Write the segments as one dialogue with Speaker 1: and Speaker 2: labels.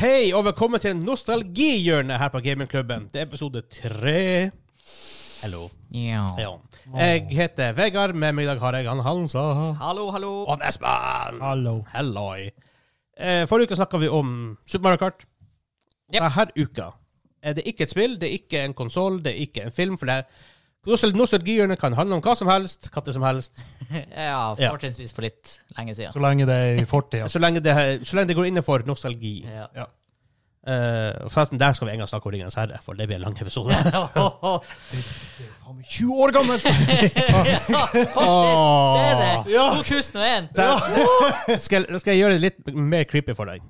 Speaker 1: Hei, og velkommen til nostalgihjørnet her på Gamingklubben. Det er episode tre. Hello. Ja. Jeg heter Vegard. Med meg i dag har jeg han Hansa.
Speaker 2: Hallo, hallo.
Speaker 1: Og Espen. Hallo. Helloi. Eh, Forrige uke snakka vi om Super Mario Kart.
Speaker 2: Yep.
Speaker 1: Denne uka er det ikke et spill, det er ikke en konsoll, det er ikke en film. For det er nostalgihjørnet kan handle om hva som helst, katter som helst.
Speaker 2: Ja, fortrinnsvis for litt lenge siden.
Speaker 3: Så lenge det er i fortida.
Speaker 1: Så lenge det, så lenge det går innenfor nostalgi.
Speaker 2: Ja.
Speaker 1: Eh, forresten, der skal vi en gang snakke om Ringenes herre, for det blir en lang episode.
Speaker 3: Faen, 20 år gammel!
Speaker 2: Det er det.
Speaker 3: Ja.
Speaker 2: 2001.
Speaker 1: Så, skal, jeg- skal jeg gjøre det litt mer creepy for deg?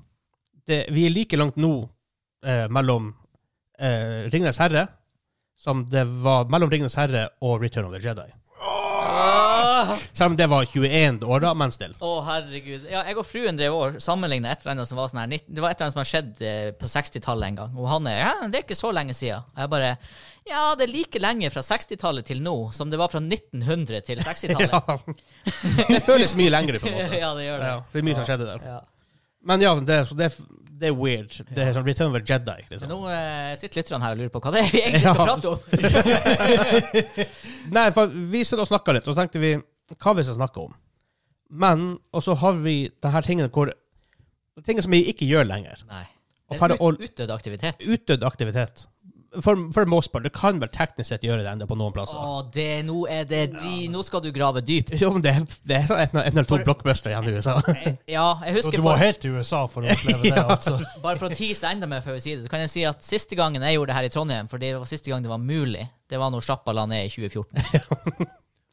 Speaker 1: Det, vi er like langt nå eh, mellom eh, Ringenes herre som det var mellom Ringenes herre og Return of the Jedi.
Speaker 2: Åh,
Speaker 1: Selv om det var 21 år, da, men still.
Speaker 2: Å, herregud. Ja, jeg og fruen drev og sammenligna et eller annet som var sånn her nitt- Det var et eller annet som har skjedd eh, på 60-tallet en gang. Og han er ja, det er ikke så lenge siden. Og jeg bare Ja, det er like lenge fra 60-tallet til nå som det var fra 1900 til 60-tallet.
Speaker 1: Ja. Det føles mye lengre, på en måte.
Speaker 2: ja, det gjør det.
Speaker 1: Ja, det er mye som skjedde der.
Speaker 2: Ja.
Speaker 1: Men ja, det, er- så det, er- det er weird. Det er sånn Return of the Jedi.
Speaker 2: Så
Speaker 1: Liksom.
Speaker 2: nå eh, sitter lytterne her og lurer på hva det er vi egentlig skal
Speaker 1: Ja.
Speaker 2: prate om.
Speaker 1: Nei, for vi satt og snakka litt, og så tenkte vi hva vi skal snakke om. Men Og så har vi det her tingene hvor det er Ting som vi ikke gjør lenger.
Speaker 2: Nei.
Speaker 1: Og
Speaker 2: Det er
Speaker 1: færre
Speaker 2: en ut, utdødd aktivitet.
Speaker 1: Utdødd aktivitet. For, for most part. Du kan vel teknisk sett gjøre det enda på noen plasser.
Speaker 2: Å, det, nå er det de, Nå skal du grave dypt.
Speaker 1: Jo, men det, det er sånn en, en eller to
Speaker 2: For-
Speaker 1: blockbuster igjen i USA.
Speaker 2: Ja, jeg
Speaker 3: Så
Speaker 2: husker
Speaker 3: du må
Speaker 2: for,
Speaker 3: helt til USA for å oppleve det, altså.
Speaker 2: Bare for å tease enda mer før vi sier det, så kan jeg si at siste gangen jeg gjorde det her i Trondheim, for det var siste gang det var mulig, det var når sjappa la ned i 2014.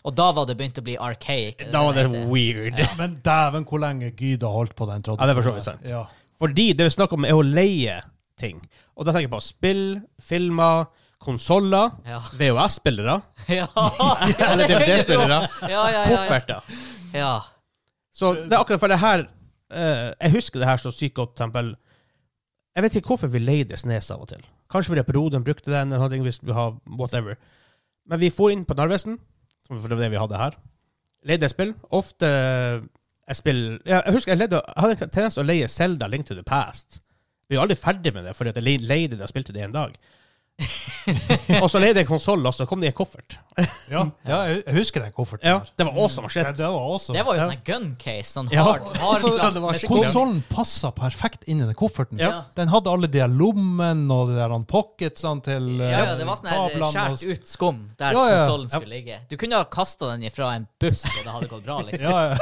Speaker 2: Og da var det begynt å bli archaic.
Speaker 1: da var det
Speaker 2: heter.
Speaker 1: weird.
Speaker 3: Men dæven, hvor lenge Gyd har holdt på den
Speaker 1: Ja,
Speaker 3: tradisjonen.
Speaker 1: det er for så vidt sant.
Speaker 3: Ja.
Speaker 1: Fordi det vi snakker om, er å leie ting. Og da tenker jeg på spill, filmer, konsoller,
Speaker 2: Ja.
Speaker 1: VHS-spillere,
Speaker 2: Ja, ja,
Speaker 1: eller
Speaker 2: det er det du-
Speaker 1: DVD-spillere,
Speaker 2: Ja, ja, ja, ja.
Speaker 1: kofferter.
Speaker 2: ja.
Speaker 1: Så det er akkurat for det her eh, Jeg husker det her så sykt godt. Tempel. Jeg vet ikke hvorfor vi leide Snes av og til. Kanskje fordi at broderen brukte den, eller noe, hvis vi har whatever. Men vi for inn på Narvesen, som for det var det vi hadde her. Leide et spill. Ofte jeg spiller ja, Jeg husker jeg, leide, jeg hadde en tendens til å leie Selda Link to the Past. Vi er jo aldri ferdig med det, fordi at jeg le- leide det og spilte det en dag. og så leide jeg konsoll, og så kom det i en koffert.
Speaker 3: Ja. ja, jeg jeg husker den kofferten.
Speaker 1: Ja,
Speaker 3: der.
Speaker 1: det var awesome shit.
Speaker 3: Ja, det var også.
Speaker 2: Det var jo sånn en gun case, sånn
Speaker 1: Ja.
Speaker 2: hard, hard
Speaker 1: Så- ja,
Speaker 2: glass
Speaker 1: det var
Speaker 2: med
Speaker 1: skikkelig-
Speaker 2: skog.
Speaker 3: Konsollen passa perfekt inn i den kofferten.
Speaker 1: Ja.
Speaker 3: Den hadde alle de her lommene og de der pocketsene til eh,
Speaker 2: Ja, ja, det var sånn her
Speaker 3: kablene og-
Speaker 2: skjært ut skum der
Speaker 3: Ja, ja.
Speaker 2: konsollen skulle ligge. Du kunne ha kasta den ifra en buss, og det hadde gått bra, liksom.
Speaker 3: Ja, ja.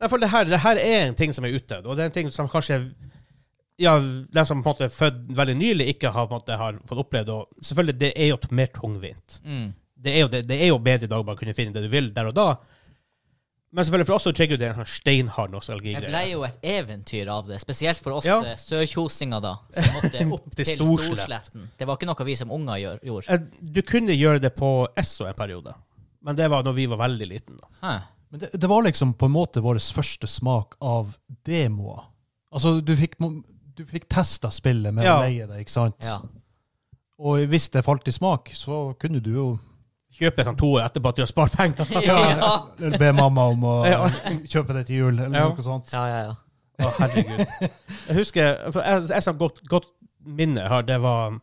Speaker 1: Nei, for det her, det her er en ting som er utdødd, og det er en ting som kanskje ja, den som på en måte er født veldig nylig, ikke har, på en måte, har fått opplevd. Og selvfølgelig, det er jo et mer tungvint.
Speaker 2: Mm.
Speaker 1: Det er jo, det, det er jo bedre i dag bare å kunne finne det du vil der og da. Men selvfølgelig for oss så trigger det en sånn steinhard
Speaker 2: Det ble
Speaker 1: nostalgigreie.
Speaker 2: jo et eventyr av det, spesielt for oss
Speaker 1: Ja.
Speaker 2: eh, sørkjosinger, da, som måtte opp
Speaker 1: Til
Speaker 2: til
Speaker 1: Storslett.
Speaker 2: Storsletten. Det var ikke noe vi som unger gjør, gjorde.
Speaker 1: Eh, Du kunne gjøre det på Esso en periode, men det var når vi var veldig liten. Da.
Speaker 2: Hæ?
Speaker 3: Men det, det var liksom på en måte vår første smak av demoer. Altså, du fikk, mo- du fikk testa spillet med
Speaker 1: Ja.
Speaker 3: å leie det, ikke sant?
Speaker 2: Ja.
Speaker 3: Og hvis det falt i smak, så kunne du jo
Speaker 1: Kjøpe sånn to etterpå at du har spart penger.
Speaker 2: ja. Ja,
Speaker 3: be mamma om å
Speaker 1: Ja.
Speaker 3: kjøpe det til jul, eller
Speaker 1: Ja.
Speaker 3: noe sånt.
Speaker 2: ja, ja.
Speaker 1: Å, herregud. Jeg husker for Jeg, jeg som godt, godt minne jeg har, det var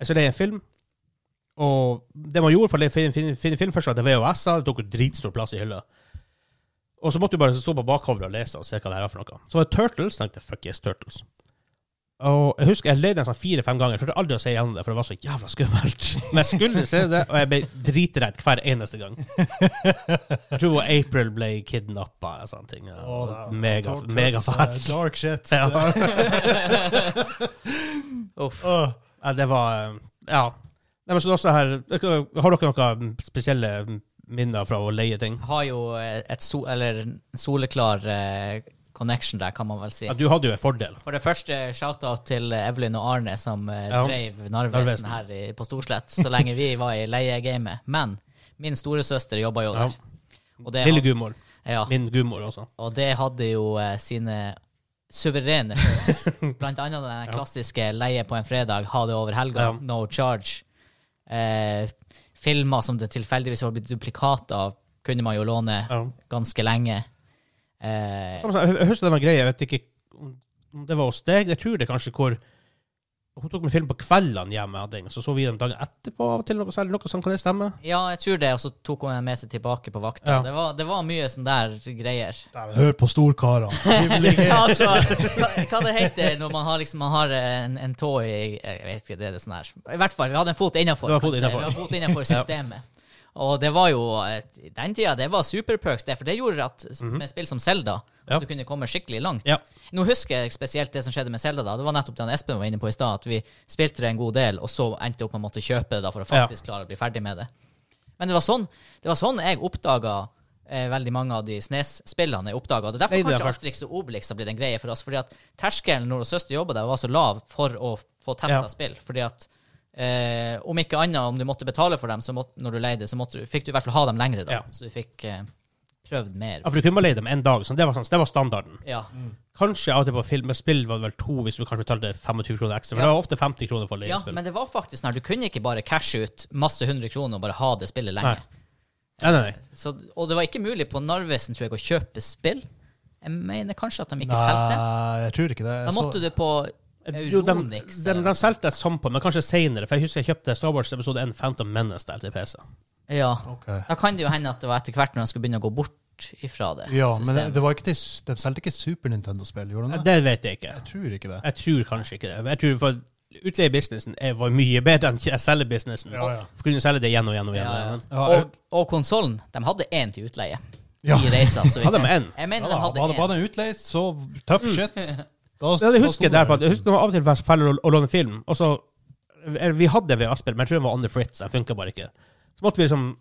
Speaker 1: Jeg så det en film, og det man gjorde for å finne, finne, finne film først, var at det var VHS-er. Det tok jo dritstor plass i hylla. Og så måtte du bare stå på bakhovet og lese og se hva det her var for noe. Så var det Turtles. tenkte jeg, fuck yes, Turtles. Og jeg husker jeg leide den sånn fire-fem ganger. Jeg turte aldri å se igjennom det, for det var så jævla skummelt. Men jeg skulle se det, og jeg ble dritredd hver eneste gang. Jeg tror April ble kidnappa eller sånne ting.
Speaker 3: Å, det er-
Speaker 1: Mega,
Speaker 3: Turtles,
Speaker 1: megafælt.
Speaker 3: eh, Dark shit.
Speaker 1: Ja.
Speaker 2: Uff.
Speaker 3: Åh.
Speaker 1: Ja, det var eh, Ja. Nei, men så også her, har dere noen mm, spesielle minner fra å leie ting?
Speaker 2: Jeg har jo eh, et so eller en soleklar eh, connection der, kan man vel si.
Speaker 1: Ja, du hadde jo en fordel.
Speaker 2: For det første, shout-out til Evelyn og Arne, som eh,
Speaker 1: Ja.
Speaker 2: drev
Speaker 1: Narvesen.
Speaker 2: Narvesen her i, på Storslett så lenge vi var i leiegamet. Men min storesøster jobba jo
Speaker 1: Ja.
Speaker 2: der. Og det
Speaker 1: Lille
Speaker 2: had-
Speaker 1: gudmor.
Speaker 2: Ja.
Speaker 1: Min gudmor også.
Speaker 2: Og det hadde jo eh, sine suverene perks. Blant annet den
Speaker 1: Ja.
Speaker 2: klassiske leie på en fredag, ha det over helga,
Speaker 1: Ja.
Speaker 2: no charge. Eh, filmer som det tilfeldigvis var blitt duplikat av, kunne man jo låne
Speaker 1: Ja. Sånn.
Speaker 2: ganske lenge. Eh,
Speaker 1: Som sagt, Jeg jeg husker det var en greie, jeg vet ikke om om det var hos deg Jeg tror det kanskje hvor Hun tok med film på kveldene hjemme, hadde jeg, og så så vi den dagen etterpå av og til, noe særlig, noe sånt kan det stemme?
Speaker 2: Ja, jeg tror det, og så tok hun meg med seg tilbake på vakta.
Speaker 1: Ja.
Speaker 2: Det, var, det var mye sånn der greier.
Speaker 3: Hør på storkarene.
Speaker 2: ja, altså, hva, hva det heter når man har, liksom, man har en, en tå i Jeg vet ikke, det er det sånn her. I hvert fall, vi hadde en fot
Speaker 1: Du
Speaker 2: innafor.
Speaker 1: har fot innenfor.
Speaker 2: systemet. Og det var jo et- i Den tida det var superperks, det, for det gjorde at med spill som Selda
Speaker 1: Mhm. Ja.
Speaker 2: du kunne komme skikkelig langt.
Speaker 1: Ja.
Speaker 2: Nå husker jeg spesielt det som skjedde med Selda. Det var nettopp det han Espen var inne på i stad, at vi spilte det en god del, og så endte jeg opp med å måtte kjøpe det da, for å
Speaker 1: Ja.
Speaker 2: faktisk klare å bli ferdig med det. Men det var sånn, det var sånn jeg oppdaga eh, veldig mange av de Snes-spillene. jeg oppdaget. Det
Speaker 1: Nei,
Speaker 2: er derfor
Speaker 1: det er
Speaker 2: kanskje
Speaker 1: faktisk-
Speaker 2: Asterix og Obelix har blitt en greie for oss. fordi at terskelen når søster jobba der, var så lav for å f- få testa
Speaker 1: Ja.
Speaker 2: spill. fordi at eh, om ikke annet, om du måtte betale for dem så måtte, når du leide, så måtte, du- fikk du i hvert fall ha dem lengre. da,
Speaker 1: Ja.
Speaker 2: Så du fikk eh, prøvd mer.
Speaker 1: Ja, for du kunne bare leie dem en dag, så det var, sånn, så det var standarden.
Speaker 2: Ja.
Speaker 1: Kanskje av og til på film, med spill var det vel to hvis du kanskje betalte 25 kroner ekstra, men
Speaker 2: Ja.
Speaker 1: det var ofte 50 kroner for å leie
Speaker 2: ja,
Speaker 1: spill.
Speaker 2: men det var faktisk sånn her, du kunne ikke bare cashe ut masse hundre kroner og bare ha det spillet lenge.
Speaker 1: Nei. Nei, nei, nei.
Speaker 2: Så, og det var ikke mulig på Narvesen, tror jeg, å kjøpe spill. Jeg mener kanskje at de ikke solgte.
Speaker 3: Nei, jeg tror ikke det.
Speaker 2: Da
Speaker 3: Jeg
Speaker 2: måtte
Speaker 3: så-
Speaker 2: du på
Speaker 1: Jo, de,
Speaker 2: Euronix.
Speaker 1: de, de solgte et sånt på, men kanskje senere, for jeg husker jeg kjøpte Star Wars episode 1 Phantom Menace der til PC.
Speaker 2: Ja.
Speaker 3: Ok.
Speaker 2: Da kan det jo hende at det var etter hvert når de skulle begynne å gå bort ifra det.
Speaker 3: Ja, men det,
Speaker 2: systemet.
Speaker 3: det var ikke til, de solgte ikke Super Nintendo-spill, gjorde de det?
Speaker 1: Det vet jeg ikke.
Speaker 3: Jeg tror ikke det.
Speaker 1: Jeg tror kanskje ikke det. Jeg tror for Utleiebusinessen er- var mye bedre enn selgebusinessen.
Speaker 3: Ja, ja.
Speaker 1: For kunne selge det igjen og igjen og igjen.
Speaker 2: ja,
Speaker 1: og
Speaker 2: ja.
Speaker 1: igjen.
Speaker 3: Ja, jeg-
Speaker 2: Og, og konsollen, de hadde én til utleie
Speaker 3: Ja.
Speaker 2: i reisa. så vidt
Speaker 1: Hadde de
Speaker 2: jeg-
Speaker 1: en?
Speaker 2: Jeg mener
Speaker 3: Ja, da,
Speaker 2: de hadde Mm.
Speaker 3: var,
Speaker 2: én.
Speaker 3: var den utleid, så tøff shit. Da,
Speaker 1: Ja, det husker jeg der, for
Speaker 3: da sto
Speaker 1: at jeg husker det var av og til fest- feil å, å låne film. Og så, vi hadde ved Asper, men jeg tror den var under Fritz. Den funka bare ikke. Så måtte vi liksom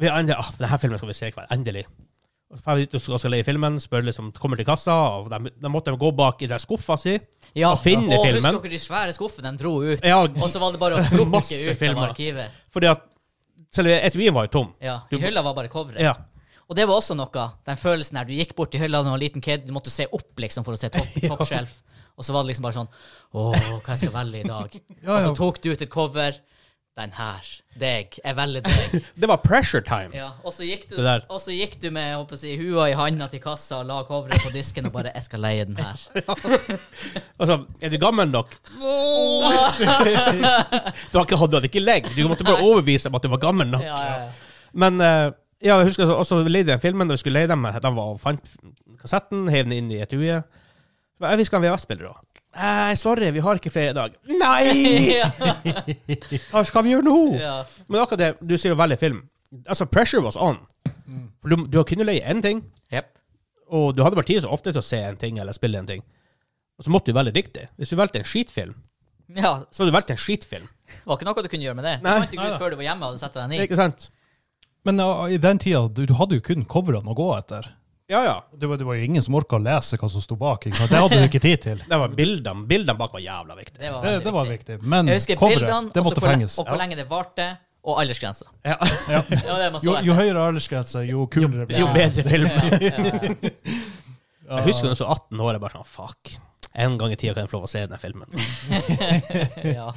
Speaker 1: vi endelig, ah, denne filmen skal vi se i kveld. Endelig. Og så drar vi ut og skal, skal leie filmen, spør liksom, kommer til kassa, og de, de måtte gå bak i den skuffa si.
Speaker 2: Ja,
Speaker 1: Å finne
Speaker 2: og
Speaker 1: filmen.
Speaker 2: Husker dere de svære skuffene de dro ut?
Speaker 1: Ja,
Speaker 2: Og så var det bare å plukke
Speaker 1: Masse
Speaker 2: ut av
Speaker 1: filmer.
Speaker 2: arkivet.
Speaker 1: fordi at Selv etui var jo tom.
Speaker 2: Ja,
Speaker 1: Du-
Speaker 2: I hylla var bare coveret.
Speaker 1: Ja.
Speaker 2: Og det var også noe, den følelsen her. Du gikk bort til hylla da du var en liten kid, du måtte se opp liksom for å se top, top shelf. Og så var det liksom bare sånn Å, hva jeg skal velge i dag?
Speaker 3: Ja,
Speaker 2: Og så
Speaker 3: ja.
Speaker 2: tok du ut et cover. Den her. Deg. Jeg velger deg.
Speaker 1: Det var pressure time.
Speaker 2: Ja, og så gikk du,
Speaker 1: Det der.
Speaker 2: og så gikk du med jeg håper å si, hua i handa til kassa og la coveret på disken og bare 'Jeg skal leie den her'.
Speaker 1: Altså, er du gammel nok? Du har ikke, du hadde ikke legg. Du måtte bare overbevise dem at du var gammel nok.
Speaker 2: Ja, ja, ja.
Speaker 1: Men eh, ja, jeg husker så- også vi leide den filmen, og vi skulle leie dem, men den var, fant kassetten, heiv den inn i et ue. Så "Eh, Jeg visker en VHS-spiller da. Nei, sorry, vi har ikke flere i dag. Nei! Hva skal vi gjøre nå?
Speaker 2: Ja.
Speaker 1: Men akkurat det, du sier å velge film. Altså, pressure was on. For du, du kunne leie én ting,
Speaker 2: Mm. Jep.
Speaker 1: og du hadde bare tid så ofte til å se en ting eller spille en ting. Og så måtte du velge riktig. Hvis du valgte en skitfilm,
Speaker 2: ja.
Speaker 1: så hadde du valgt en skitfilm.
Speaker 2: Det var ikke noe du kunne gjøre med det. Du
Speaker 1: Nei,
Speaker 2: fant ikke
Speaker 1: nei da.
Speaker 2: ut før du var hjemme og hadde satt deg ned.
Speaker 1: Ikke sant?
Speaker 3: Men ja, i den tida, du, du hadde jo kun coverene å gå etter.
Speaker 1: Ja, ja.
Speaker 3: Det var, det var jo ingen som orka å lese hva som sto bak. Ikke sant? Det hadde du ikke tid til.
Speaker 1: Det var bildene. Bildene bak var jævla viktige.
Speaker 2: Det var
Speaker 3: Det,
Speaker 2: veldig
Speaker 3: det var
Speaker 2: viktig.
Speaker 3: viktig. Men
Speaker 2: Jeg husker bildene,
Speaker 3: coveret, det
Speaker 2: og så
Speaker 3: måtte
Speaker 2: hvor le-
Speaker 3: fenges.
Speaker 2: og hvor lenge det varte, og aldersgrensa.
Speaker 1: Ja.
Speaker 2: Det var det man
Speaker 3: Jo,
Speaker 2: så
Speaker 3: jo
Speaker 2: etter.
Speaker 3: høyere aldersgrense, jo kulere blir
Speaker 1: Jo
Speaker 2: Ja.
Speaker 1: bedre film.
Speaker 2: Ja, ja.
Speaker 1: Jeg husker da jeg var 18 år, jeg bare sånn Fuck. En gang i tida kan jeg få lov å se den filmen.
Speaker 2: Ja.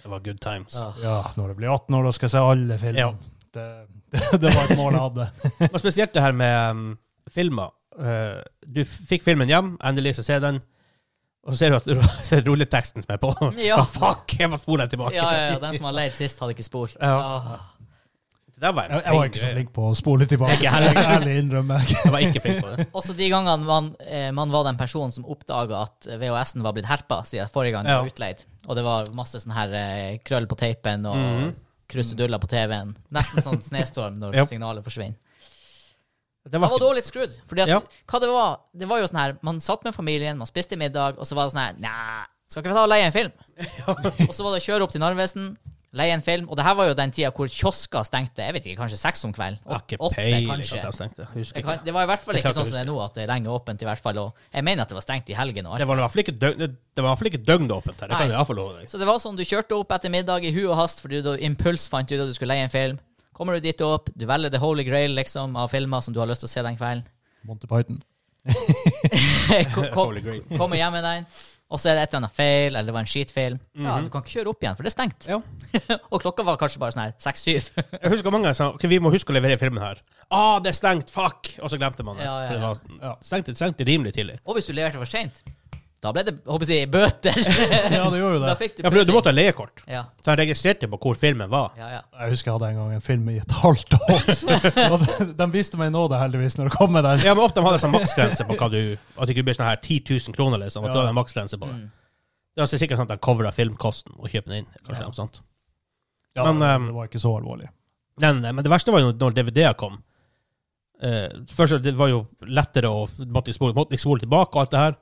Speaker 1: Det var good times.
Speaker 2: Ja.
Speaker 3: det. Ja, når jeg blir 18 år, da skal jeg se
Speaker 1: Ja.
Speaker 3: alle filmene. Det, det, var et mål jeg hadde.
Speaker 1: Og spesielt det her med um, filmer. Eh, du f- fikk filmen hjem, endelig så ser den, og så ser du at ro ser rulleteksten som er på.
Speaker 2: Ja.
Speaker 1: Ah, fuck, jeg må spole den tilbake.
Speaker 2: ja, ja, ja. Den som har leid sist, hadde ikke spurt.
Speaker 1: Ja.
Speaker 2: Ah.
Speaker 1: Det der var en
Speaker 3: Jeg, jeg var ikke så
Speaker 1: greie.
Speaker 3: flink på å spole tilbake.
Speaker 1: Ikke
Speaker 3: skal
Speaker 1: heller.
Speaker 3: Jeg ærlig innrømme.
Speaker 1: Jeg var ikke flink på det.
Speaker 2: Også de gangene man, eh, man var den personen som oppdaga at VHS-en var blitt herpa siden forrige gang
Speaker 1: Ja.
Speaker 2: den var utleid. Og det var masse sånn her eh, krøll på teipen og kruseduller på TV-en. Nesten sånn snestorm når
Speaker 1: Mhm. Ja.
Speaker 2: signalet forsvinner.
Speaker 1: Det
Speaker 2: Da
Speaker 1: var
Speaker 2: var
Speaker 1: ikke
Speaker 2: dårlig skrudd. Fordi at,
Speaker 1: Ja.
Speaker 2: hva det var, det var jo sånn her, man satt med familien, man spiste middag, og så var det sånn her, nei, skal ikke vi ta og leie en film? og så var det å kjøre opp til Narvesen, leie en film, og det her var jo den tida hvor kiosker stengte, jeg vet ikke, kanskje seks om kvelden.
Speaker 1: Jeg har ikke
Speaker 2: Åtte,
Speaker 1: peiling på
Speaker 2: kanskje.
Speaker 1: hva jeg tenkte. Jeg husker
Speaker 2: Jeg kan,
Speaker 1: ikke.
Speaker 2: det var i hvert fall
Speaker 1: Det
Speaker 2: ikke
Speaker 1: klarte
Speaker 2: sånn
Speaker 1: jeg
Speaker 2: som det er nå, at det er lenge åpent. i hvert fall, og Jeg mener at det var stengt i helgen. og
Speaker 1: Det
Speaker 2: alt.
Speaker 1: var i hvert fall ikke døgn, det- det var i hvert fall ikke døgnåpent her. Det kan
Speaker 2: Nei.
Speaker 1: jeg iallfall love deg.
Speaker 2: Så det var sånn, du kjørte opp etter middag i hu og hast fordi du impuls fant ut at du skulle leie en film. Kommer du dit opp, du velger the holy grail liksom, av filmer som du har lyst til å se den kvelden.
Speaker 3: Monty Python.
Speaker 2: Ko- ko-
Speaker 1: Holy grail.
Speaker 2: Kommer hjem med den, og så er det et eller annet feil, eller det var en skitfilm. Ja, du kan ikke kjøre opp igjen, for det er stengt.
Speaker 1: Mhm. Ja.
Speaker 2: og klokka var kanskje bare sånn her seks-syv.
Speaker 1: Jeg husker mange sa ok, vi må huske å levere filmen her. Ah, det er stengt! Fuck! Og så glemte man det. sånn,
Speaker 2: Ja, ja,
Speaker 1: For
Speaker 2: ja.
Speaker 1: det var stengte, stengte rimelig tidlig.
Speaker 2: og hvis du leverte for seint, Da ble det håper jeg, å si, bøter.
Speaker 3: Ja, det gjorde jo
Speaker 2: da
Speaker 3: det.
Speaker 2: fikk du
Speaker 1: Ja, for du måtte ha leiekort.
Speaker 2: Ja,
Speaker 1: Så han registrerte på hvor filmen var.
Speaker 2: ja, ja.
Speaker 3: Jeg husker jeg hadde en gang en film i et halvt år. Og de- de viste meg nåde, heldigvis, når det kom med den.
Speaker 1: Ja, men ofte har de sånn maksgrense på hva du At det ikke blir sånn her 10 000 kroner, liksom. At
Speaker 3: Ja.
Speaker 1: da er det en maksgrense på det.
Speaker 2: Mm.
Speaker 1: Det er altså sikkert sånn at de coverer filmkosten og kjøper den inn. kanskje noe sånt.
Speaker 3: Ja,
Speaker 1: Men, ehm,
Speaker 3: det var ikke så alvorlig.
Speaker 1: Nei, nei, nei, men det verste var jo når DVD-er kom. Eh, først, det var jo lettere å måtte spole, måtte ikke spole tilbake og alt det her.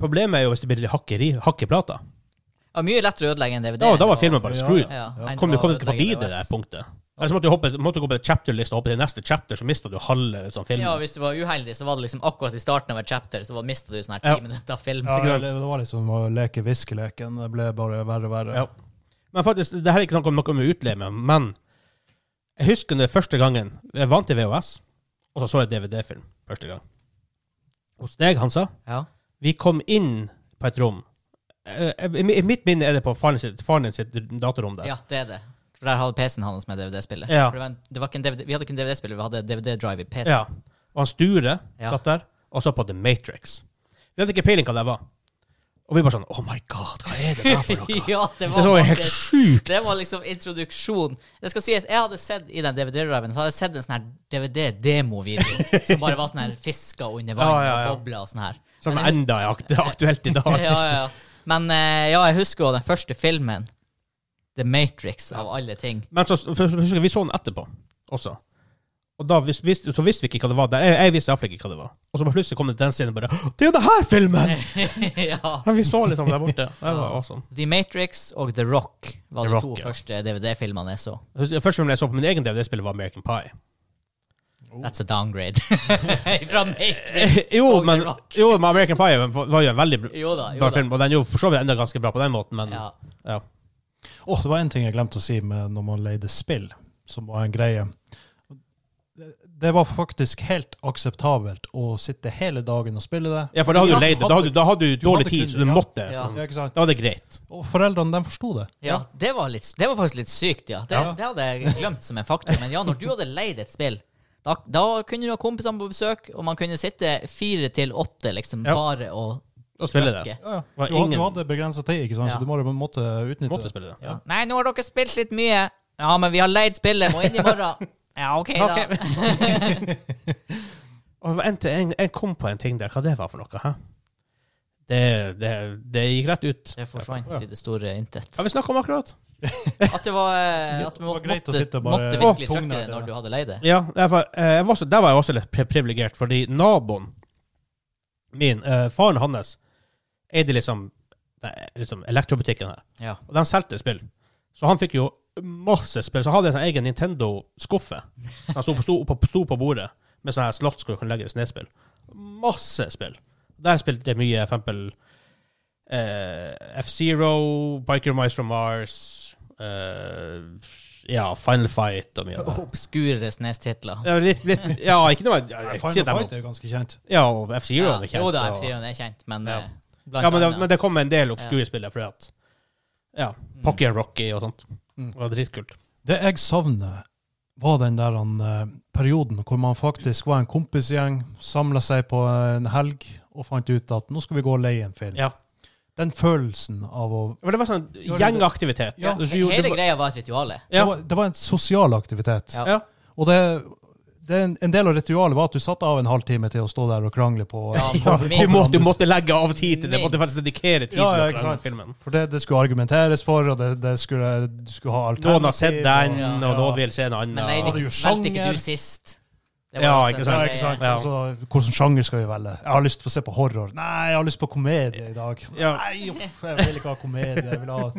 Speaker 1: Problemet er jo hvis det blir hakkeri, hakkeplater.
Speaker 2: Det var mye lettere å ødelegge enn DVD.
Speaker 1: Ja, da var filmen bare
Speaker 3: Ja,
Speaker 1: screwed.
Speaker 2: Ja,
Speaker 3: Ja.
Speaker 2: enn
Speaker 1: Kom, du
Speaker 2: å
Speaker 1: kom ikke forbi
Speaker 2: ødelegge
Speaker 1: det der
Speaker 2: VHS.
Speaker 1: punktet. Eller så måtte du hoppe, måtte du gå på chapter-lista og hoppe til neste chapter, så mista du halve sånn filmen.
Speaker 2: Ja, hvis du var uheldig, så var det liksom akkurat i starten av et chapter, så mista du sånn her ti
Speaker 1: Ja.
Speaker 2: minutter av film.
Speaker 3: Ja,
Speaker 1: grønt.
Speaker 3: det det var liksom å leke viskeleken. Det ble bare verre og verre.
Speaker 1: Ja. Men faktisk, det her er ikke noe, noe med utleie, men jeg husker den første gangen jeg vant til VHS, og så så jeg DVD-film første gang. Hos deg, Hansa,
Speaker 2: Ja.
Speaker 1: vi kom inn på et rom. Eh, I i mitt minne er det på faren sitt, faren din sitt datarom der.
Speaker 2: ja, det er det. For der hadde PC-en hans med DVD-spillet.
Speaker 1: Ja.
Speaker 2: For Det var en, det var ikke en DVD, vi hadde ikke en DVD-spiller, vi hadde DVD-drive i PC.
Speaker 1: Ja. Og han Sture
Speaker 2: Ja.
Speaker 1: satt der og så på The Matrix. Vi hadde ikke peiling hva det var. Og vi bare sånn Oh my god, hva er det der for noe?
Speaker 2: ja, det
Speaker 1: Det
Speaker 2: var
Speaker 1: så jo helt
Speaker 2: faktisk-
Speaker 1: sjukt.
Speaker 2: Det var liksom introduksjon. Det skal sies, Jeg hadde sett i den DVD-driven Så hadde jeg sett en sånn her DVD-demovideo som bare var sånn her fisker under vann
Speaker 1: Ja, ja, ja.
Speaker 2: og bobler og sånn her.
Speaker 1: Som enda er akt aktuelt i dag. liksom.
Speaker 2: Ja, ja, ja. Men eh, ja, jeg husker jo den første filmen, The Matrix, av alle ting.
Speaker 1: Men så, for, for, husker jeg, vi så den etterpå også. Og da vis, vis, så visste vi ikke hva det var der. Jeg, jeg visste iallfall ikke hva det var. Og så bare plutselig kom det den scenen bare Det er jo det her filmen!
Speaker 2: ja.
Speaker 1: Men vi så liksom der borte. Det var awesome.
Speaker 2: The Matrix og The Rock var
Speaker 1: The
Speaker 2: de
Speaker 1: Rock,
Speaker 2: to
Speaker 1: ja.
Speaker 2: første DVD-filmene jeg så.
Speaker 1: Jeg husker- Første filmen jeg så på min egen DVD-spiller, var American Pie.
Speaker 2: That's a downgrade. Fra Matrix
Speaker 1: Oh. Jo,
Speaker 2: og
Speaker 1: men,
Speaker 2: The Rock.
Speaker 1: jo, men American Pie var- var jo en veldig br-
Speaker 2: Jo da, jo
Speaker 1: bra
Speaker 2: da.
Speaker 1: film, og den er jo for så vidt enda ganske bra på den måten, men
Speaker 2: Ja.
Speaker 1: ja.
Speaker 3: Åh, det var en ting jeg glemte å si med når man leide spill, som var en greie. Det var faktisk helt akseptabelt å sitte hele dagen og spille det.
Speaker 1: Ja, for da hadde du
Speaker 3: Ja,
Speaker 1: leid det. Da hadde, da hadde du dårlig
Speaker 3: hadde
Speaker 1: tid,
Speaker 3: kunnet,
Speaker 1: så du
Speaker 3: ja.
Speaker 1: måtte.
Speaker 2: Ja.
Speaker 1: sånn.
Speaker 3: Ja, ikke sant?
Speaker 1: Da var det greit.
Speaker 3: Og foreldrene, de forsto det.
Speaker 2: Ja, det var, litt, det var faktisk litt sykt, ja. Det,
Speaker 3: Ja.
Speaker 2: det hadde jeg glemt som en faktor. Men ja, når du hadde leid et spill, da, da kunne du ha kompisene på besøk, og man kunne sitte fire til åtte, liksom,
Speaker 1: Ja.
Speaker 2: bare og
Speaker 1: Da spiller det.
Speaker 2: Ikke.
Speaker 3: Ja, ja.
Speaker 1: Var
Speaker 3: Du, hadde-
Speaker 1: ingen-
Speaker 3: du hadde begrensa tid, ikke sant?
Speaker 2: Ja.
Speaker 3: så du må- måtte utnytte
Speaker 1: Måtte
Speaker 3: det.
Speaker 1: spille det.
Speaker 2: ja. Nei, nå har dere spilt litt mye. Ja, men vi har leid spillet, må inn i morgen. Ja, OK, da.
Speaker 1: Ok. Og en, til- en, jeg kom på en ting der. Hva det var for noe? Hæ? Det, det, det gikk rett ut.
Speaker 2: Det forsvant i det store intet.
Speaker 1: Har vi snakka om akkurat?
Speaker 2: At det var, eh, at vi
Speaker 3: Det var
Speaker 2: måtte,
Speaker 3: greit å
Speaker 2: måtte,
Speaker 3: sitte og bare-
Speaker 2: virkelig
Speaker 3: Å,
Speaker 2: trykke det
Speaker 3: tungnede.
Speaker 2: når du hadde leid det.
Speaker 1: Ja, derfor, eh, jeg var også, der var jeg også litt pri- privilegert, fordi naboen min, eh, faren hans, eide liksom, nei, liksom elektrobutikken her.
Speaker 2: Ja.
Speaker 1: Og de solgte spill. Så han fikk jo masse spill. Så han hadde en sånn egen Nintendo-skuffe. Så Han sto på, sto, på, sto på bordet med sånn her slott hvor du kunne legge nedspill. Masse spill. Der spilte jeg mye, for eksempel eh, F-Zero, Biker Mice from Mars, eh, ja, Final Fight og mye av det.
Speaker 2: Obskure SNES-titler.
Speaker 1: Ja, litt, litt, ja ikke noe ja,
Speaker 3: Ja,
Speaker 1: jeg,
Speaker 3: Final
Speaker 1: sier det,
Speaker 3: Fight
Speaker 1: men-
Speaker 3: er jo ganske kjent.
Speaker 1: Ja, og F-Zero
Speaker 2: Ja,
Speaker 1: er kjent.
Speaker 2: jo da,
Speaker 1: og-
Speaker 2: F-Zero er kjent, men
Speaker 1: Ja.
Speaker 2: eh, blant
Speaker 1: Ja, men det,
Speaker 2: annet. Mm.
Speaker 1: men det kom en del obskure spillere fordi at Ja, Pocky and Rocky og sånt.
Speaker 3: Mm.
Speaker 1: Det var dritkult.
Speaker 3: Det jeg savner, var den der eh, perioden hvor man faktisk var en kompisgjeng, samla seg på en helg og fant ut at nå skal vi gå og leie en film.
Speaker 1: Ja.
Speaker 3: Den følelsen av å
Speaker 1: Men det var sånn
Speaker 3: Ja, det-
Speaker 1: gjengaktivitet.
Speaker 3: Ja.
Speaker 1: Du-
Speaker 2: He-
Speaker 1: du-
Speaker 2: Hele
Speaker 1: du-
Speaker 2: greia var et rituale.
Speaker 1: Ja.
Speaker 3: det, var, det var en sosial aktivitet.
Speaker 2: Ja.
Speaker 1: Ja.
Speaker 3: Og det, det er en, en del av ritualet var at du satte av en halvtime til å stå der og krangle på
Speaker 2: Ja,
Speaker 1: Du, måtte, du måtte legge av tid til det. Du måtte
Speaker 2: Minst.
Speaker 1: faktisk dedikere tid
Speaker 3: Ja, ja,
Speaker 1: til
Speaker 3: ikke
Speaker 1: den
Speaker 3: sant.
Speaker 1: filmen.
Speaker 3: For det, det skulle argumenteres for, og det, det skulle, du skulle ha alternativ.
Speaker 1: Noen har sett den,
Speaker 2: Ja,
Speaker 1: og
Speaker 3: ja.
Speaker 1: noen vil se en annen.
Speaker 2: Men nei,
Speaker 3: hadde
Speaker 2: det
Speaker 3: jo
Speaker 2: valgte ikke
Speaker 3: sjanger.
Speaker 2: du sist. Det
Speaker 1: Ja,
Speaker 2: også
Speaker 1: ikke
Speaker 2: en
Speaker 1: sant,
Speaker 2: sånn
Speaker 3: Ja, ikke sant?
Speaker 1: Ja.
Speaker 3: Altså, hvilken sjanger skal vi velge? Jeg har lyst til å se på horror. Nei, jeg har lyst på komedie i dag.
Speaker 1: Ja.
Speaker 3: Nei, uff, jeg vil ikke ha komedie. Jeg vil ha